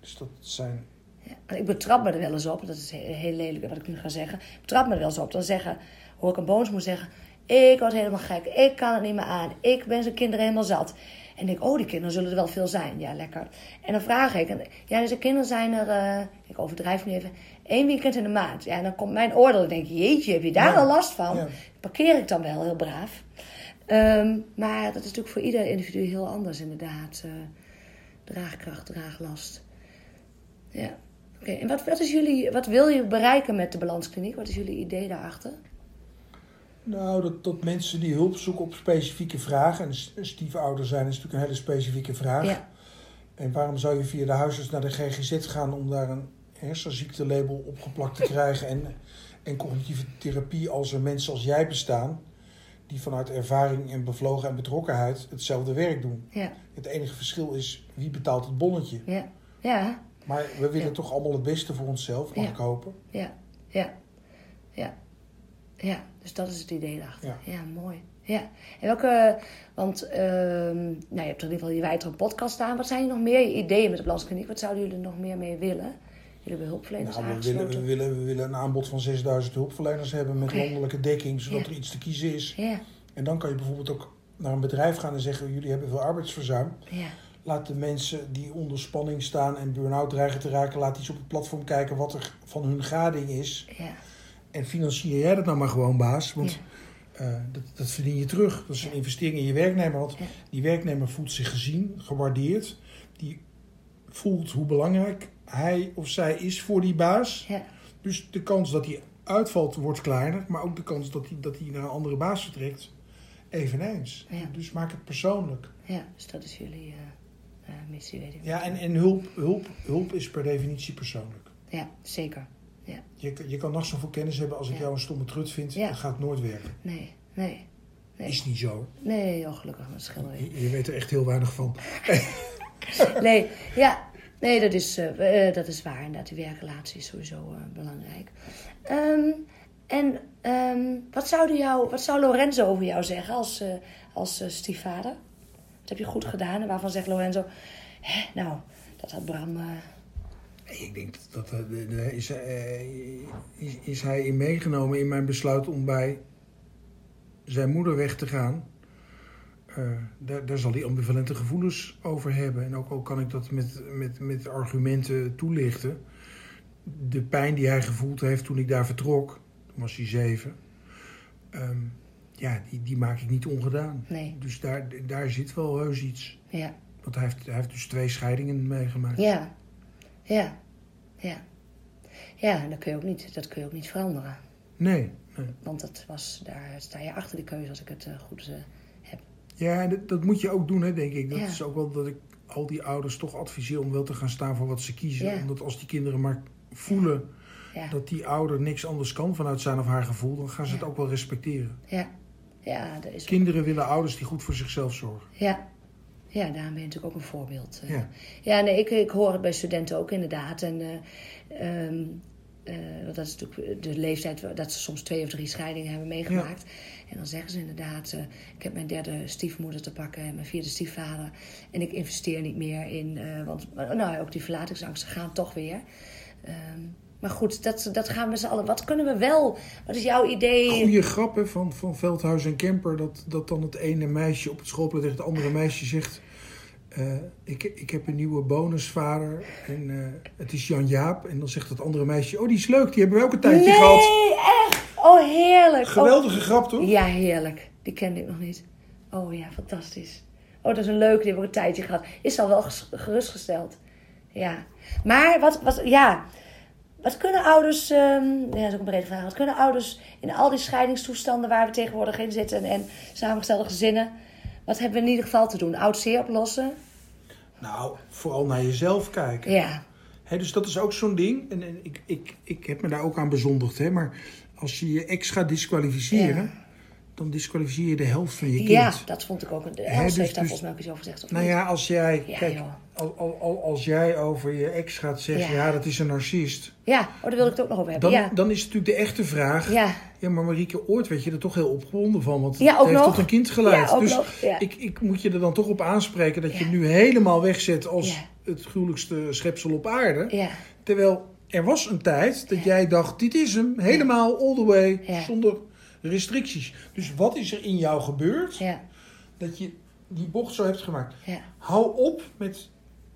Dus dat zijn...
ja. Maar Ik betrap me er wel eens op, dat is he- heel lelijk wat ik nu ga zeggen. Ik betrap me er wel eens op, dan zeggen, hoor ik een bonus moet zeggen... Ik word helemaal gek, ik kan het niet meer aan, ik ben zijn kinderen helemaal zat. En ik, oh, die kinderen zullen er wel veel zijn, ja, lekker. En dan vraag ik, en, ja, dus de kinderen zijn er, eh, ik overdrijf nu even, één weekend in de maand. Ja, en dan komt mijn oordeel, dan denk ik, jeetje, heb je daar
Ja.
al last van?
Ja.
Parkeer ik dan wel, heel braaf. Ehm, maar dat is natuurlijk voor ieder individu heel anders, inderdaad. eh, draagkracht, draaglast. Ja. Oké, en wat, wat, is jullie, wat wil je bereiken met de balanskliniek? Wat is jullie idee daarachter?
Nou, dat, dat mensen die hulp zoeken op specifieke vragen... en s- stiefouder zijn is natuurlijk een hele specifieke vraag...
Ja,
En waarom zou je via de huisarts naar de GGZ gaan om daar een hersenziektelabel opgeplakt te krijgen en, en cognitieve therapie als er mensen als jij bestaan, die vanuit ervaring en bevlogen en betrokkenheid hetzelfde werk doen?
ja,
Het enige verschil is wie betaalt het bonnetje.
ja, ja,
Maar we willen
Ja.
toch allemaal het beste voor onszelf, mag
Ja.
ik hopen.
ja, ja, ja. Ja, dus dat is het idee daarachter. Ja,
Ja.
mooi. Ja, en welke, want ehm, nou, je hebt er in ieder geval je wijdere podcast staan. Wat zijn nog meer je ideeën met de balanskliniek? Wat zouden jullie er nog meer mee willen? Jullie hebben hulpverleners
Nou, we, willen,
aangesloten.
we, willen, we willen een aanbod van 6000 hulpverleners hebben met
Oké.
landelijke dekking, zodat
Ja.
er iets te kiezen is.
Ja,
En dan kan je bijvoorbeeld ook naar een bedrijf gaan en zeggen: jullie hebben veel arbeidsverzuim.
ja,
Laat de mensen die onder spanning staan en burn-out dreigen te raken, laat iets op het platform kijken wat er van hun gading is.
ja.
En financier jij dat nou maar gewoon, baas. Want
Ja.
eh, dat, dat verdien je terug. Dat is een investering in je werknemer. Want
Ja.
die werknemer voelt zich gezien, gewaardeerd. Die voelt hoe belangrijk hij of zij is voor die baas.
ja.
Dus de kans dat hij uitvalt wordt kleiner. Maar ook de kans dat hij, dat hij naar een andere baas vertrekt, eveneens.
Ja.
Dus maak het persoonlijk.
Ja, dus dat is jullie eh, eh, missie, weet ik.
Ja, en, en hulp, hulp, hulp is per definitie persoonlijk.
Ja, zeker. Ja,
Je, kan- je kan nog zoveel kennis hebben als ik
Ja.
jou een stomme trut vind.
Ja.
Dat gaat nooit werken.
nee, nee. Nee.
Is niet zo.
Nee, oh, gelukkig, dat scheelt weer.
Je, je weet er echt heel weinig van.
Nee, ja, nee dat, is, eh, eh, dat is waar. Inderdaad, die werkrelatie is sowieso eh, belangrijk. Ehm, en ehm, wat, zouden jou, wat zou Lorenzo over jou zeggen als, eh, als eh, stiefvader? Wat heb je goed gedaan? En waarvan zegt Lorenzo... Hè, nou, dat had Bram... eh,
Nee, Ik denk dat dat, eh, daar is, eh, is, is hij in meegenomen in mijn besluit om bij zijn moeder weg te gaan. Eh, daar, daar zal hij ambivalente gevoelens over hebben. En ook al kan ik dat met, met, met argumenten toelichten. De pijn die hij gevoeld heeft toen ik daar vertrok, toen was hij zeven. ehm, ja, die, die maak ik niet ongedaan.
nee,
Dus daar, daar zit wel heus iets.
ja.
Want hij heeft, hij heeft dus twee scheidingen meegemaakt.
Ja, ja, ja. Ja, en dat kun je ook niet, dat kun je ook niet veranderen.
Nee, nee.
Want dat was, daar sta je achter die keuze als ik het eh, goed... eh,
Ja, en dat, dat moet je ook doen, hè, denk ik. Dat
Ja.
is ook wel dat ik al die ouders toch adviseer om wel te gaan staan voor wat ze kiezen.
Ja.
Omdat als die kinderen maar voelen
ja,
dat die ouder niks anders kan vanuit zijn of haar gevoel, dan gaan ze
Ja.
het ook wel respecteren.
ja, ja, dat is...
Kinderen willen ouders die goed voor zichzelf zorgen.
Ja. ja, daarom ben je natuurlijk ook een voorbeeld. eh.
Ja.
Ja, nee, ik, ik hoor het bij studenten ook inderdaad. En eh, ehm, eh, want dat is natuurlijk de leeftijd wa- dat ze soms twee of drie scheidingen hebben meegemaakt. En dan zeggen ze inderdaad, eh, ik heb mijn derde stiefmoeder te pakken en mijn vierde stiefvader. En ik eh, investeer niet meer in, eh, want maar, nou, ook die verlatingsangsten gaan toch weer. Ehm, Maar goed, dat, dat gaan we met z'n allen. Wat kunnen we wel? Wat is jouw idee?
Goede grappen van, van Veldhuis en Kemper. Dat, dat dan het ene meisje op het schoolplein tegen het andere meisje zegt... eh, ik, ik heb een nieuwe bonusvader en eh, het is Jan Jaap. En dan zegt het andere meisje, oh die is leuk, die hebben we ook een tijdje
nee,
gehad.
echt! Oh, heerlijk.
Geweldige grap toch?
Oh, ja, heerlijk. Die kende ik nog niet. Oh ja, fantastisch. Oh, dat is een leuke, die heb ik een tijdje gehad. Is al wel ges- gerustgesteld. Ja. Maar wat, wat ja... Wat kunnen ouders, ehm, ja, dat is ook een brede vraag. Wat kunnen ouders in al die scheidingstoestanden waar we tegenwoordig in zitten en, en samengestelde gezinnen, wat hebben we in ieder geval te doen? Oud zeer oplossen?
Nou, vooral naar jezelf kijken.
Ja.
Hè, dus dat is ook zo'n ding. En, en ik, ik, ik heb me daar ook aan bezondigd. Hè? Maar als je je ex gaat disqualificeren, dan disqualificeer je de helft van je kind.
Ja, dat vond ik ook. een- Els heeft
dus-
daar
dus-
volgens mij ook iets over gezegd. Of
Nou
niet?
ja, als jij,
Ja,
kijk,
joh.
al, al, al- als jij over je ex gaat zeggen,
Ja.
ja, dat is een narcist.
ja, oh, daar wilde ik het ook nog over hebben.
Dan,
Ja.
dan is natuurlijk de echte vraag, ja.
ja,
maar Marieke, ooit werd je er toch heel opgewonden van. Want
Ja, ook
het heeft
nog.
tot een kind geleid.
Ja, ook
dus
nog, ja.
ik, ik moet je er dan toch op aanspreken dat je
Ja.
nu helemaal wegzet als
Ja.
het gruwelijkste schepsel op aarde.
ja,
Terwijl er was een tijd dat jij dacht, dit is hem, helemaal, all the way,
Ja.
zonder restricties. Dus wat is er in jou gebeurd
ja,
dat je die bocht zo hebt gemaakt?
ja,
Hou op met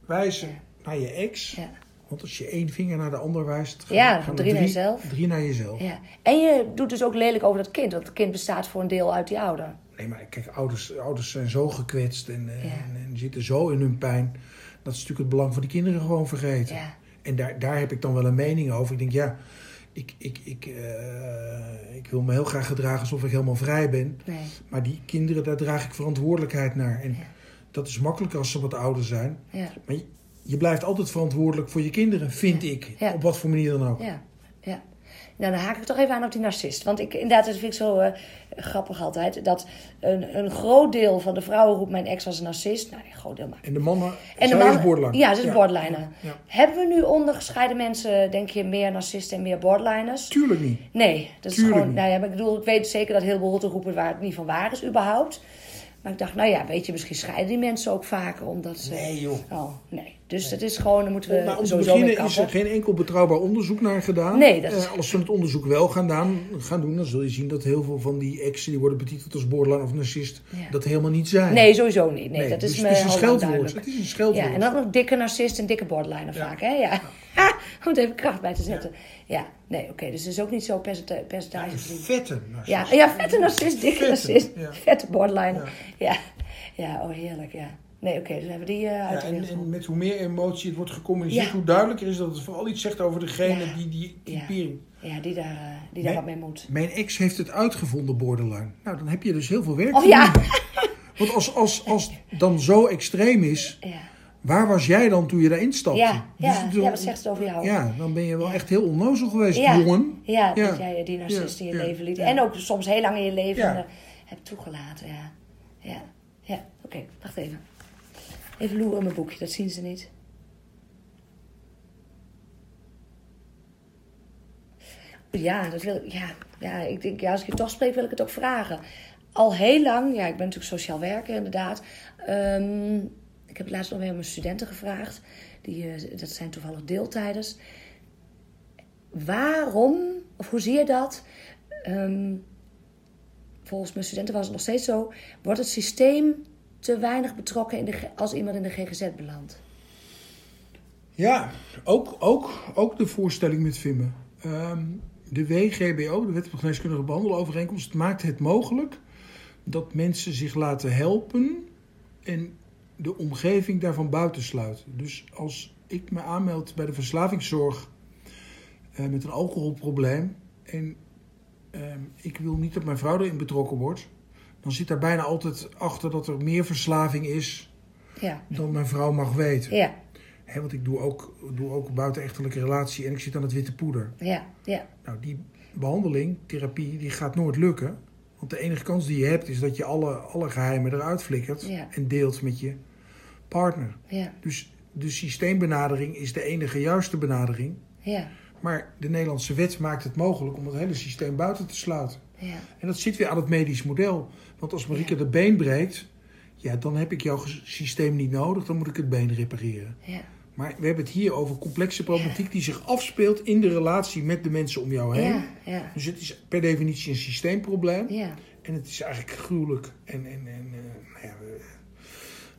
wijzen
Ja.
naar je ex.
ja.
Want als je één vinger naar de ander wijst, gaan-
Ja,
gaan
van
er
drie naar jezelf.
Drie naar jezelf.
ja. En je doet dus ook lelijk over dat kind, want het kind bestaat voor een deel uit die ouder.
Nee, maar kijk, ouders, ouders zijn zo gekwetst en, eh,
Ja.
en, en zitten zo in hun pijn. Dat is natuurlijk het belang van die kinderen gewoon vergeten.
Ja,
En daar, daar heb ik dan wel een mening over. Ik denk, ja, ik, ik, ik, eh, ik wil me heel graag gedragen alsof ik helemaal vrij ben.
nee,
Maar die kinderen, daar draag ik verantwoordelijkheid naar. En
Ja.
dat is makkelijker als ze wat ouder zijn.
ja,
Maar je, je blijft altijd verantwoordelijk voor je kinderen, vind ik.
Ja.
Op wat voor manier dan ook.
ja, ja. Nou, dan haak ik toch even aan op die narcist. Want ik, inderdaad, dat vind ik zo eh, grappig altijd. Dat een, een groot deel van de vrouwen roept mijn ex was een narcist. Nou, een groot deel maar.
En de mannen,
En
en
de
zij is
mannen-
borderline.
Ja, ze is borderliner.
Ja.
Hebben we nu onder gescheiden mensen, denk je, meer narcisten en meer borderliners?
Tuurlijk niet.
Nee, dat is
Tuurlijk
gewoon.
niet.
Nou ja, maar ik bedoel, ik weet zeker dat heel veel rotte roepen waar het niet van waar is, überhaupt. Maar ik dacht, nou ja, weet je, misschien scheiden die mensen ook vaker omdat ze.
Nee, joh.
Oh, nee. Dus dat is gewoon, dan moeten we
Nou, om te
sowieso mee
beginnen is
kappen.
er geen enkel betrouwbaar onderzoek naar gedaan.
Nee, dat is-
Eh, als ze het onderzoek wel gaan, daan- gaan doen, dan zul je zien dat heel veel van die exen die worden betiteld als borderline of narcist,
Ja.
dat helemaal niet zijn.
Nee, sowieso niet. Nee,
Nee,
dat
dus
is
het
me
is een
al
scheldwoord.
duidelijk.
Het is een scheldwoord.
Ja, en dan ook nog dikke narcist en dikke borderliner
Ja.
vaak, hè? Ja. Om er even kracht bij te zetten. Ja, nee, oké. Dus het is ook niet zo percenta- percentage
Een
gezien.
vette narcist.
Ja, ja, vette narcist, dikke
Vette,
narcist,
ja.
vette borderliner. Ja. ja, oh heerlijk, ja. Nee, oké, dus dan hebben we die eh
Ja,
uit de
en,
wereld.
en met hoe meer emotie het wordt gecommuniceerd,
Ja.
hoe duidelijker is dat het vooral iets zegt over degene
Ja.
die die
Ja.
typering.
Ja, die daar, eh, die daar
Nee.
wat mee moet.
Mijn ex heeft het uitgevonden, borderline. Nou, dan heb je dus heel veel werk
Oh
te
ja.
doen. Want als, als, als het dan zo extreem is,
Ja,
waar was jij dan toen je daarin stapte?
ja, ja,
Dus-
ja wat zegt het over jou?
Ja, dan ben je wel echt heel onnozel geweest,
Ja.
jongen.
Ja,
Ja.
dat jij eh, die narcist in je
Ja, ja,
leven liet.
ja.
En ook soms heel lang in je leven
Ja.
eh, hebt toegelaten. Ja, ja, ja. oké, wacht even. Even loeren in mijn boekje, dat zien ze niet. Ja, dat wil ik. Ja, ja, ik denk, ja, als ik je toch spreek, wil ik het ook vragen. Al heel lang, ja, ik ben natuurlijk sociaal werker inderdaad. Ehm, ik heb het laatst nog weer aan mijn studenten gevraagd. Die, eh, dat zijn toevallig deeltijders waarom, of hoe zie je dat? Ehm, volgens mijn studenten was het nog steeds zo. Wordt het systeem te weinig betrokken in de, G- als iemand in de GGZ belandt?
Ja, ook, ook, ook de voorstelling met Vimmen. Ehm, de WGBO, de Wet op Geneeskundige Behandelovereenkomst, het maakt het mogelijk dat mensen zich laten helpen en de omgeving daarvan buitensluiten. Dus als ik me aanmeld bij de verslavingszorg eh, met een alcoholprobleem en ehm, ik wil niet dat mijn vrouw erin betrokken wordt, dan zit daar bijna altijd achter dat er meer verslaving is
Ja,
dan mijn vrouw mag weten.
ja,
Hè, want ik doe ook, doe ook een buitenechtelijke relatie en ik zit aan het witte poeder.
ja, ja,
Nou, die behandeling, therapie, die gaat nooit lukken. Want de enige kans die je hebt is dat je alle, alle geheimen eruit flikkert
Ja.
en deelt met je partner.
ja,
Dus de systeembenadering is de enige juiste benadering.
ja,
Maar de Nederlandse wet maakt het mogelijk om het hele systeem buiten te sluiten.
ja.
En dat zit weer aan het medisch model. Want als Marieke de been breekt, ja, dan heb ik jouw systeem niet nodig, dan moet ik het been repareren.
ja.
Maar we hebben het hier over complexe problematiek die zich afspeelt in de relatie met de mensen om jou heen.
Ja, ja,
Dus het is per definitie een systeemprobleem.
ja.
En het is eigenlijk gruwelijk. En, en, en eh, nou ja, eh,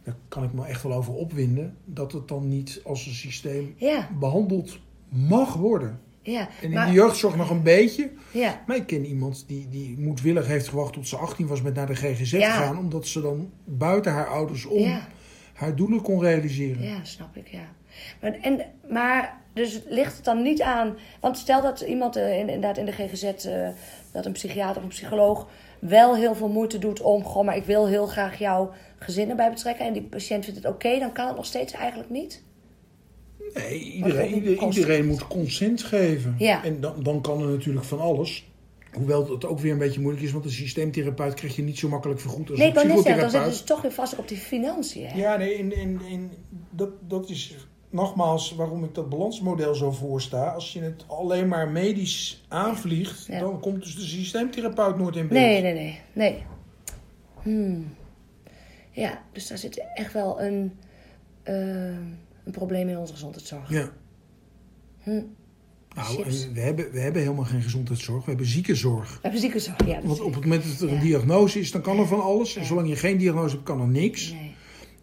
daar kan ik me echt wel over opwinden. Dat het dan niet als een systeem
Ja,
behandeld mag worden.
ja.
En in
Maar-
de jeugdzorg nog een beetje.
ja,
Maar ik ken iemand die, die moedwillig heeft gewacht tot ze 18 was met naar de GGZ
Ja.
gaan. Omdat ze dan buiten haar ouders om
ja,
haar doelen kon realiseren.
ja, snap ik, ja. Maar, en, maar dus ligt het dan niet aan... Want stel dat iemand eh, in- inderdaad in de GGZ... eh, dat een psychiater of een psycholoog wel heel veel moeite doet om... Goh, maar ik wil heel graag jouw gezin erbij betrekken... en die patiënt vindt het oké, dan kan het nog steeds eigenlijk niet?
Nee,
Wat
iedereen,
voor
ieder-
consent?
iedereen moet consent geven.
Ja.
En dan, dan kan er natuurlijk van alles. Hoewel het ook weer een beetje moeilijk is, want een systeemtherapeut krijg je niet zo makkelijk vergoed als
Nee,
een
ik wou net zeggen, dan
psychotherapeut.
zit het dus toch weer vast op die financiën. Hè?
Ja, nee, en, en, en dat, dat is nogmaals waarom ik dat balansmodel zo voorsta. Als je het alleen maar medisch aanvliegt,
Ja.
dan komt dus de systeemtherapeut nooit in beeld.
Nee, nee, nee. nee. Hmm. Ja, dus daar zit echt wel een, ehm, een probleem in onze gezondheidszorg.
Ja.
Hm.
Nou,
Chips.
en we hebben, we hebben helemaal geen gezondheidszorg, we hebben ziekenzorg.
We hebben ziekenzorg, ja. dat
Want
is-
op het moment dat er een
Ja.
diagnose is, dan kan er van alles. En
Ja.
zolang je geen diagnose hebt, kan er niks.
Nee.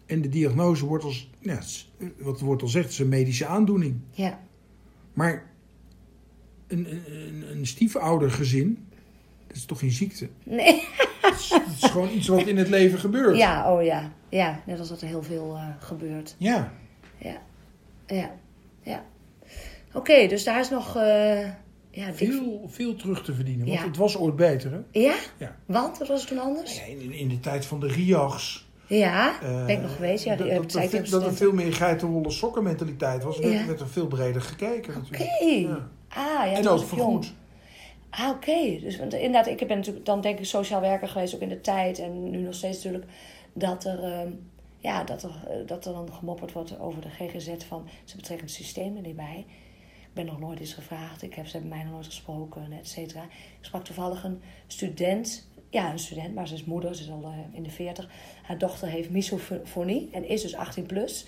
En de diagnose wordt als, ja, het is- eh, wat wordt al zegt, het is een medische aandoening.
Ja,
Maar een, een, een- een stiefoudergezin, dat is toch geen ziekte?
nee.
Het is, het is gewoon iets wat in het leven gebeurt.
ja, oh ja. Ja, net als dat er heel veel eh, gebeurt.
Ja.
Ja, ja, ja. Oké, dus daar is nog... eh, ja, dik-
Veel, veel terug te verdienen, want
Ja.
het was ooit beter. Hè?
Ja?
Ja.
Want, wat was het toen anders?
Ja, In, in de tijd van de RIAGs.
Ja,
eh,
ben ik nog geweest. Ja,
dat-
die, eh,
dat,
zei ik
dat,
tegen
dat er
de
veel meer geitenwolle sokkenmentaliteit was, werd,
Ja.
werd er veel breder gekeken natuurlijk.
Oké.
Ja.
Ah, ja,
En
toen
ook
was ik jong.
vergoed.
Ah, oké. Dus want inderdaad, ik ben natuurlijk dan denk ik sociaal werker geweest, ook in de tijd. En nu nog steeds natuurlijk dat er, ehm, ja, dat er, eh, dat er dan gemopperd wordt over de GGZ van ze betrekken het systeem er niet bij. Ik ben nog nooit eens gevraagd. Ik heb, ze hebben mij nog nooit gesproken, et cetera. Ik sprak toevallig een student. Ja, een student, maar ze is moeder. Ze is al eh, in de 40. Haar dochter heeft misofonie en is dus 18 plus.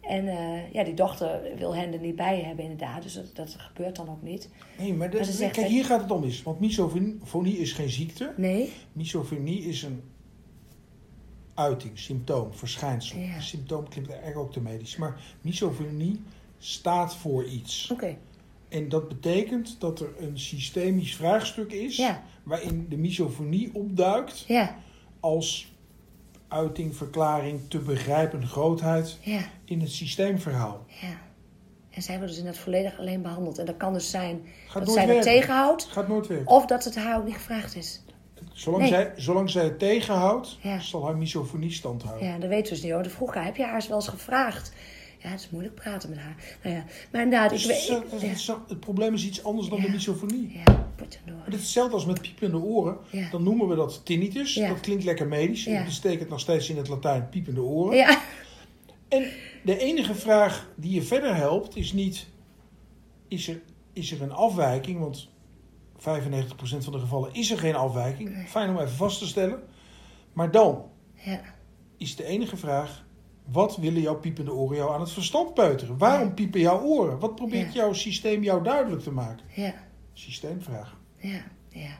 En eh, ja, die dochter wil hen er niet bij hebben inderdaad. Dus dat, dat gebeurt dan ook niet.
Nee, maar, dat-
Maar ze zegt
kijk,
dat-
hier gaat het om mis. Want misofonie is geen ziekte.
Nee?
Misofonie is een uiting, symptoom, verschijnsel.
Ja.
Symptoom klinkt eigenlijk ook te medisch. Maar misofonie staat voor iets.
Oké.
En dat betekent dat er een systemisch vraagstuk is...
Ja.
waarin de misofonie opduikt
Ja,
als uiting, verklaring, te begrijpen grootheid...
ja,
in het systeemverhaal.
ja. En zij worden dus inderdaad volledig alleen behandeld. En dat kan dus zijn
Gaat
dat
nooit
zij dat
werken.
tegenhoudt.
Gaat nooit werken.
Of dat het haar ook niet gevraagd is.
Zolang,
Nee.
zij, zolang zij het tegenhoudt,
Ja.
zal haar misofonie stand houden.
Ja, dat weten we dus niet hoor. De vroeg haar, heb je haar eens wel eens gevraagd? Ja, het is moeilijk praten met haar. Nou ja, maar inderdaad, ik
Dus
weet...
het, het-
ik-
het- het probleem is iets anders dan de
Ja.
misofonie.
Ja, potjanoor.
Maar het is hetzelfde als met piepende oren.
Ja.
Dan noemen we dat tinnitus.
Ja.
Dat klinkt lekker medisch.
Ja.
Ik besteek het nog steeds in het Latijn piepende oren.
Ja,
En de enige vraag die je verder helpt is niet... Is er, is er een afwijking? Want 95% van de gevallen is er geen afwijking. Fijn om even vast te stellen. Maar dan
ja,
is de enige vraag... Wat willen jouw piepende oren jou aan het verstand peuteren? Waarom piepen jouw oren? Wat probeert
Ja.
jouw systeem jou duidelijk te maken?
ja,
Systeemvraag.
ja, ja.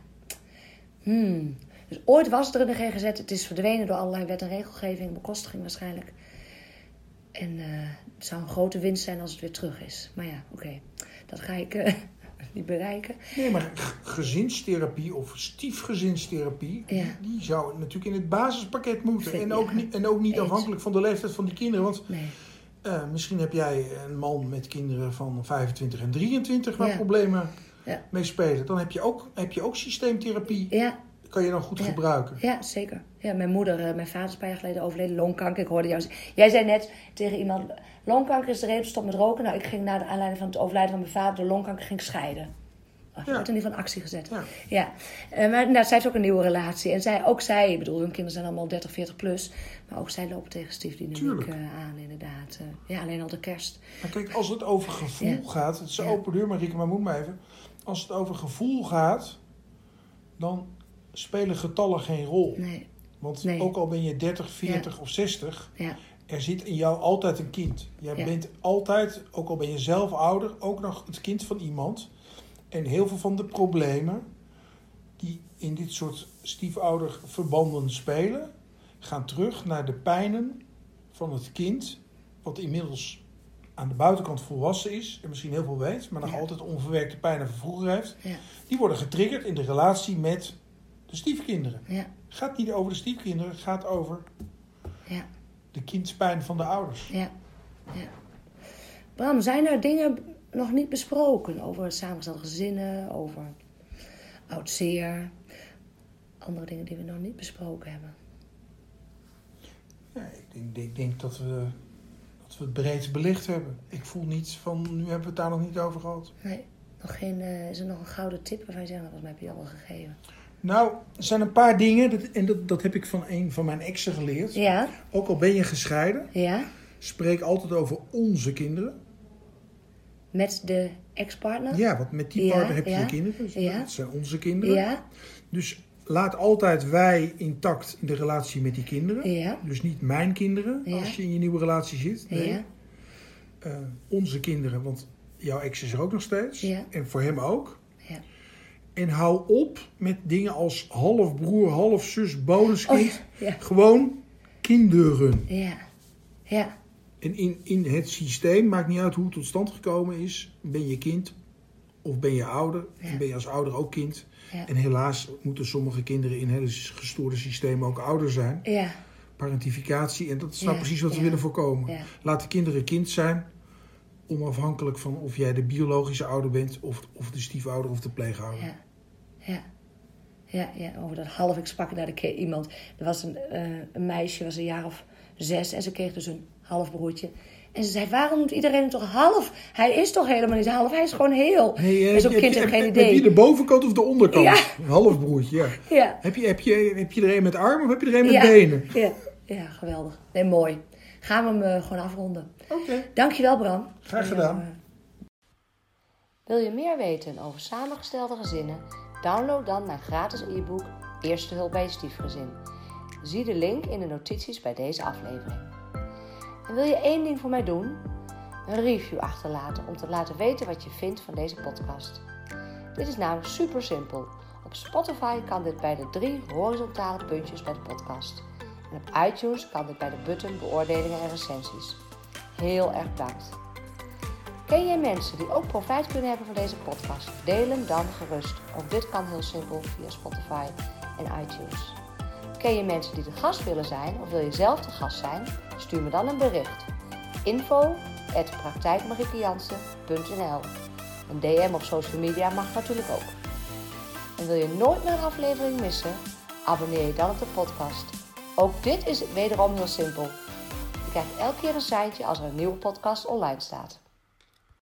Hmm. Dus ooit was het er in de GGZ. Het is verdwenen door allerlei wet en regelgeving. Bekostiging waarschijnlijk. En eh, het zou een grote winst zijn als het weer terug is. Maar ja, oké. Dat ga ik eh, niet bereiken.
Nee, maar g- gezinstherapie of stiefgezinstherapie,
Ja.
die, die zou natuurlijk in het basispakket moeten.
Vind-
En ook,
ja.
niet, en ook niet
Eens.
afhankelijk van de leeftijd van die kinderen. Want
Nee.
eh, misschien heb jij een man met kinderen van 25 en 23 waar
Ja.
problemen
Ja.
mee spelen. Dan heb je ook, heb je ook systeemtherapie.
Ja,
Kan je dan goed
Ja.
gebruiken.
ja, zeker. Ja, mijn moeder, eh, mijn vader is een paar jaar geleden overleden. Longkanker. Ik hoorde jou zeggen. Jij zei net tegen iemand, longkanker is de reden stop met roken. Nou, ik ging na de aanleiding van het overlijden van mijn vader door longkanker ging ik scheiden. Oh, je
Ja.
wordt in ieder geval in actie gezet.
Ja.
Ja, Eh, maar nou, zij heeft ook een nieuwe relatie. En zij, ook zij, ik bedoel, hun kinderen zijn allemaal 30, 40 plus. Maar ook zij lopen tegen stiefdynamiek
Tuurlijk.
eh, aan, inderdaad. Eh, ja, alleen al de kerst.
Maar kijk, als het over gevoel
Ja.
gaat, het is een
Ja.
open deur, Marieke, maar moet maar even. Als het over gevoel gaat, dan spelen getallen geen rol.
Nee,
Want
Nee.
ook al ben je 30, 40 of 60,
ja,
er zit in jou altijd een kind. Jij
Ja.
bent altijd, ook al ben je zelf ouder, ook nog het kind van iemand. En heel veel van de problemen die in dit soort stiefouder verbanden spelen, gaan terug naar de pijnen van het kind, wat inmiddels aan de buitenkant volwassen is en misschien heel veel weet, maar nog
Ja.
altijd onverwerkte pijnen van vroeger heeft.
Ja.
Die worden getriggerd in de relatie met de stiefkinderen.
Ja.
gaat niet over de stiefkinderen, het gaat over
Ja.
de kindspijn van de ouders.
Ja, ja. Bram, zijn er dingen nog niet besproken over samengestelde gezinnen, over oud zeer? Andere dingen die we nog niet besproken hebben.
Ja, ik denk, ik denk dat, we, dat we het breed belicht hebben. Ik voel niets van, nu hebben we het daar nog niet over gehad.
Nee, nog geen, eh, is er nog een gouden tip waarvan je zegt, nou, volgens mij heb je die al wel gegeven.
Nou, er zijn een paar dingen, dat, en dat, dat heb ik van een van mijn exen geleerd.
Ja,
Ook al ben je gescheiden,
ja.
spreek altijd over onze kinderen.
Met de ex-partner?
Ja, want met die
Ja,
partner heb je
ja.
je kinderen. Dus
Ja.
Dat zijn onze kinderen.
Ja,
Dus laat altijd wij intact in de relatie met die kinderen.
ja,
Dus niet mijn kinderen,
Ja.
als je in je nieuwe relatie zit. Nee.
ja,
eh, onze kinderen, want jouw ex is er ook nog steeds.
Ja.
En voor hem ook.
ja.
En hou op met dingen als halfbroer, halfzus, bonuskind.
Oh ja, ja,
Gewoon kinderen.
ja, ja,
En in, in het systeem, maakt niet uit hoe het tot stand gekomen is, ben je kind of ben je ouder.
Ja.
En ben je als ouder ook kind.
Ja.
En helaas moeten sommige kinderen in hele gestoorde systemen ook ouder zijn.
ja,
Parentificatie, en dat is nou
Ja,
precies wat we
ja,
willen voorkomen.
ja.
Laat de kinderen kind zijn, onafhankelijk van of jij de biologische ouder bent, of, of de stiefouder of de pleegouder.
Ja, ja. Ja, ja, over dat half. Ik sprak naar de keer iemand. Er was een, eh, een meisje, was een jaar of zes. En ze kreeg dus een half broertje. En ze zei, waarom moet iedereen hem toch half? Hij is toch helemaal niet half? Hij is gewoon heel.
Hey, eh,
en zo'n
heb je-
kind
heb
heeft
je-
geen
heb- Heb je de
idee.
bovenkant of de onderkant?
Ja.
Een halfbroertje, ja.
Ja,
Heb je, heb, je, heb je er een met armen of heb je er een met
ja,
benen?
Ja, ja, geweldig. Nee, mooi. Gaan we hem eh, gewoon afronden.
Oké.
Dankjewel, Bram.
Graag gedaan.
eh, Wil je meer weten over samengestelde gezinnen? Download dan mijn gratis e-book Eerste hulp bij je stiefgezin. Zie de link in de notities bij deze aflevering. En wil je één ding voor mij doen? Een review achterlaten om te laten weten wat je vindt van deze podcast. Dit is namelijk super simpel. Op Spotify kan dit bij de drie horizontale puntjes bij de podcast. En op iTunes kan dit bij de button beoordelingen en recensies. Heel erg bedankt. Ken jij mensen die ook profijt kunnen hebben van deze podcast? Deel hem dan gerust. Ook dit kan heel simpel via Spotify en iTunes. Ken je mensen die de gast willen zijn of wil je zelf de gast zijn? Stuur me dan een bericht. Info at praktijkmariekejansen.nl Een DM op social media mag natuurlijk ook. En wil je nooit meer een aflevering missen? Abonneer je dan op de podcast. Ook dit is wederom heel simpel. Je krijgt elke keer een seintje als er een nieuwe podcast online staat.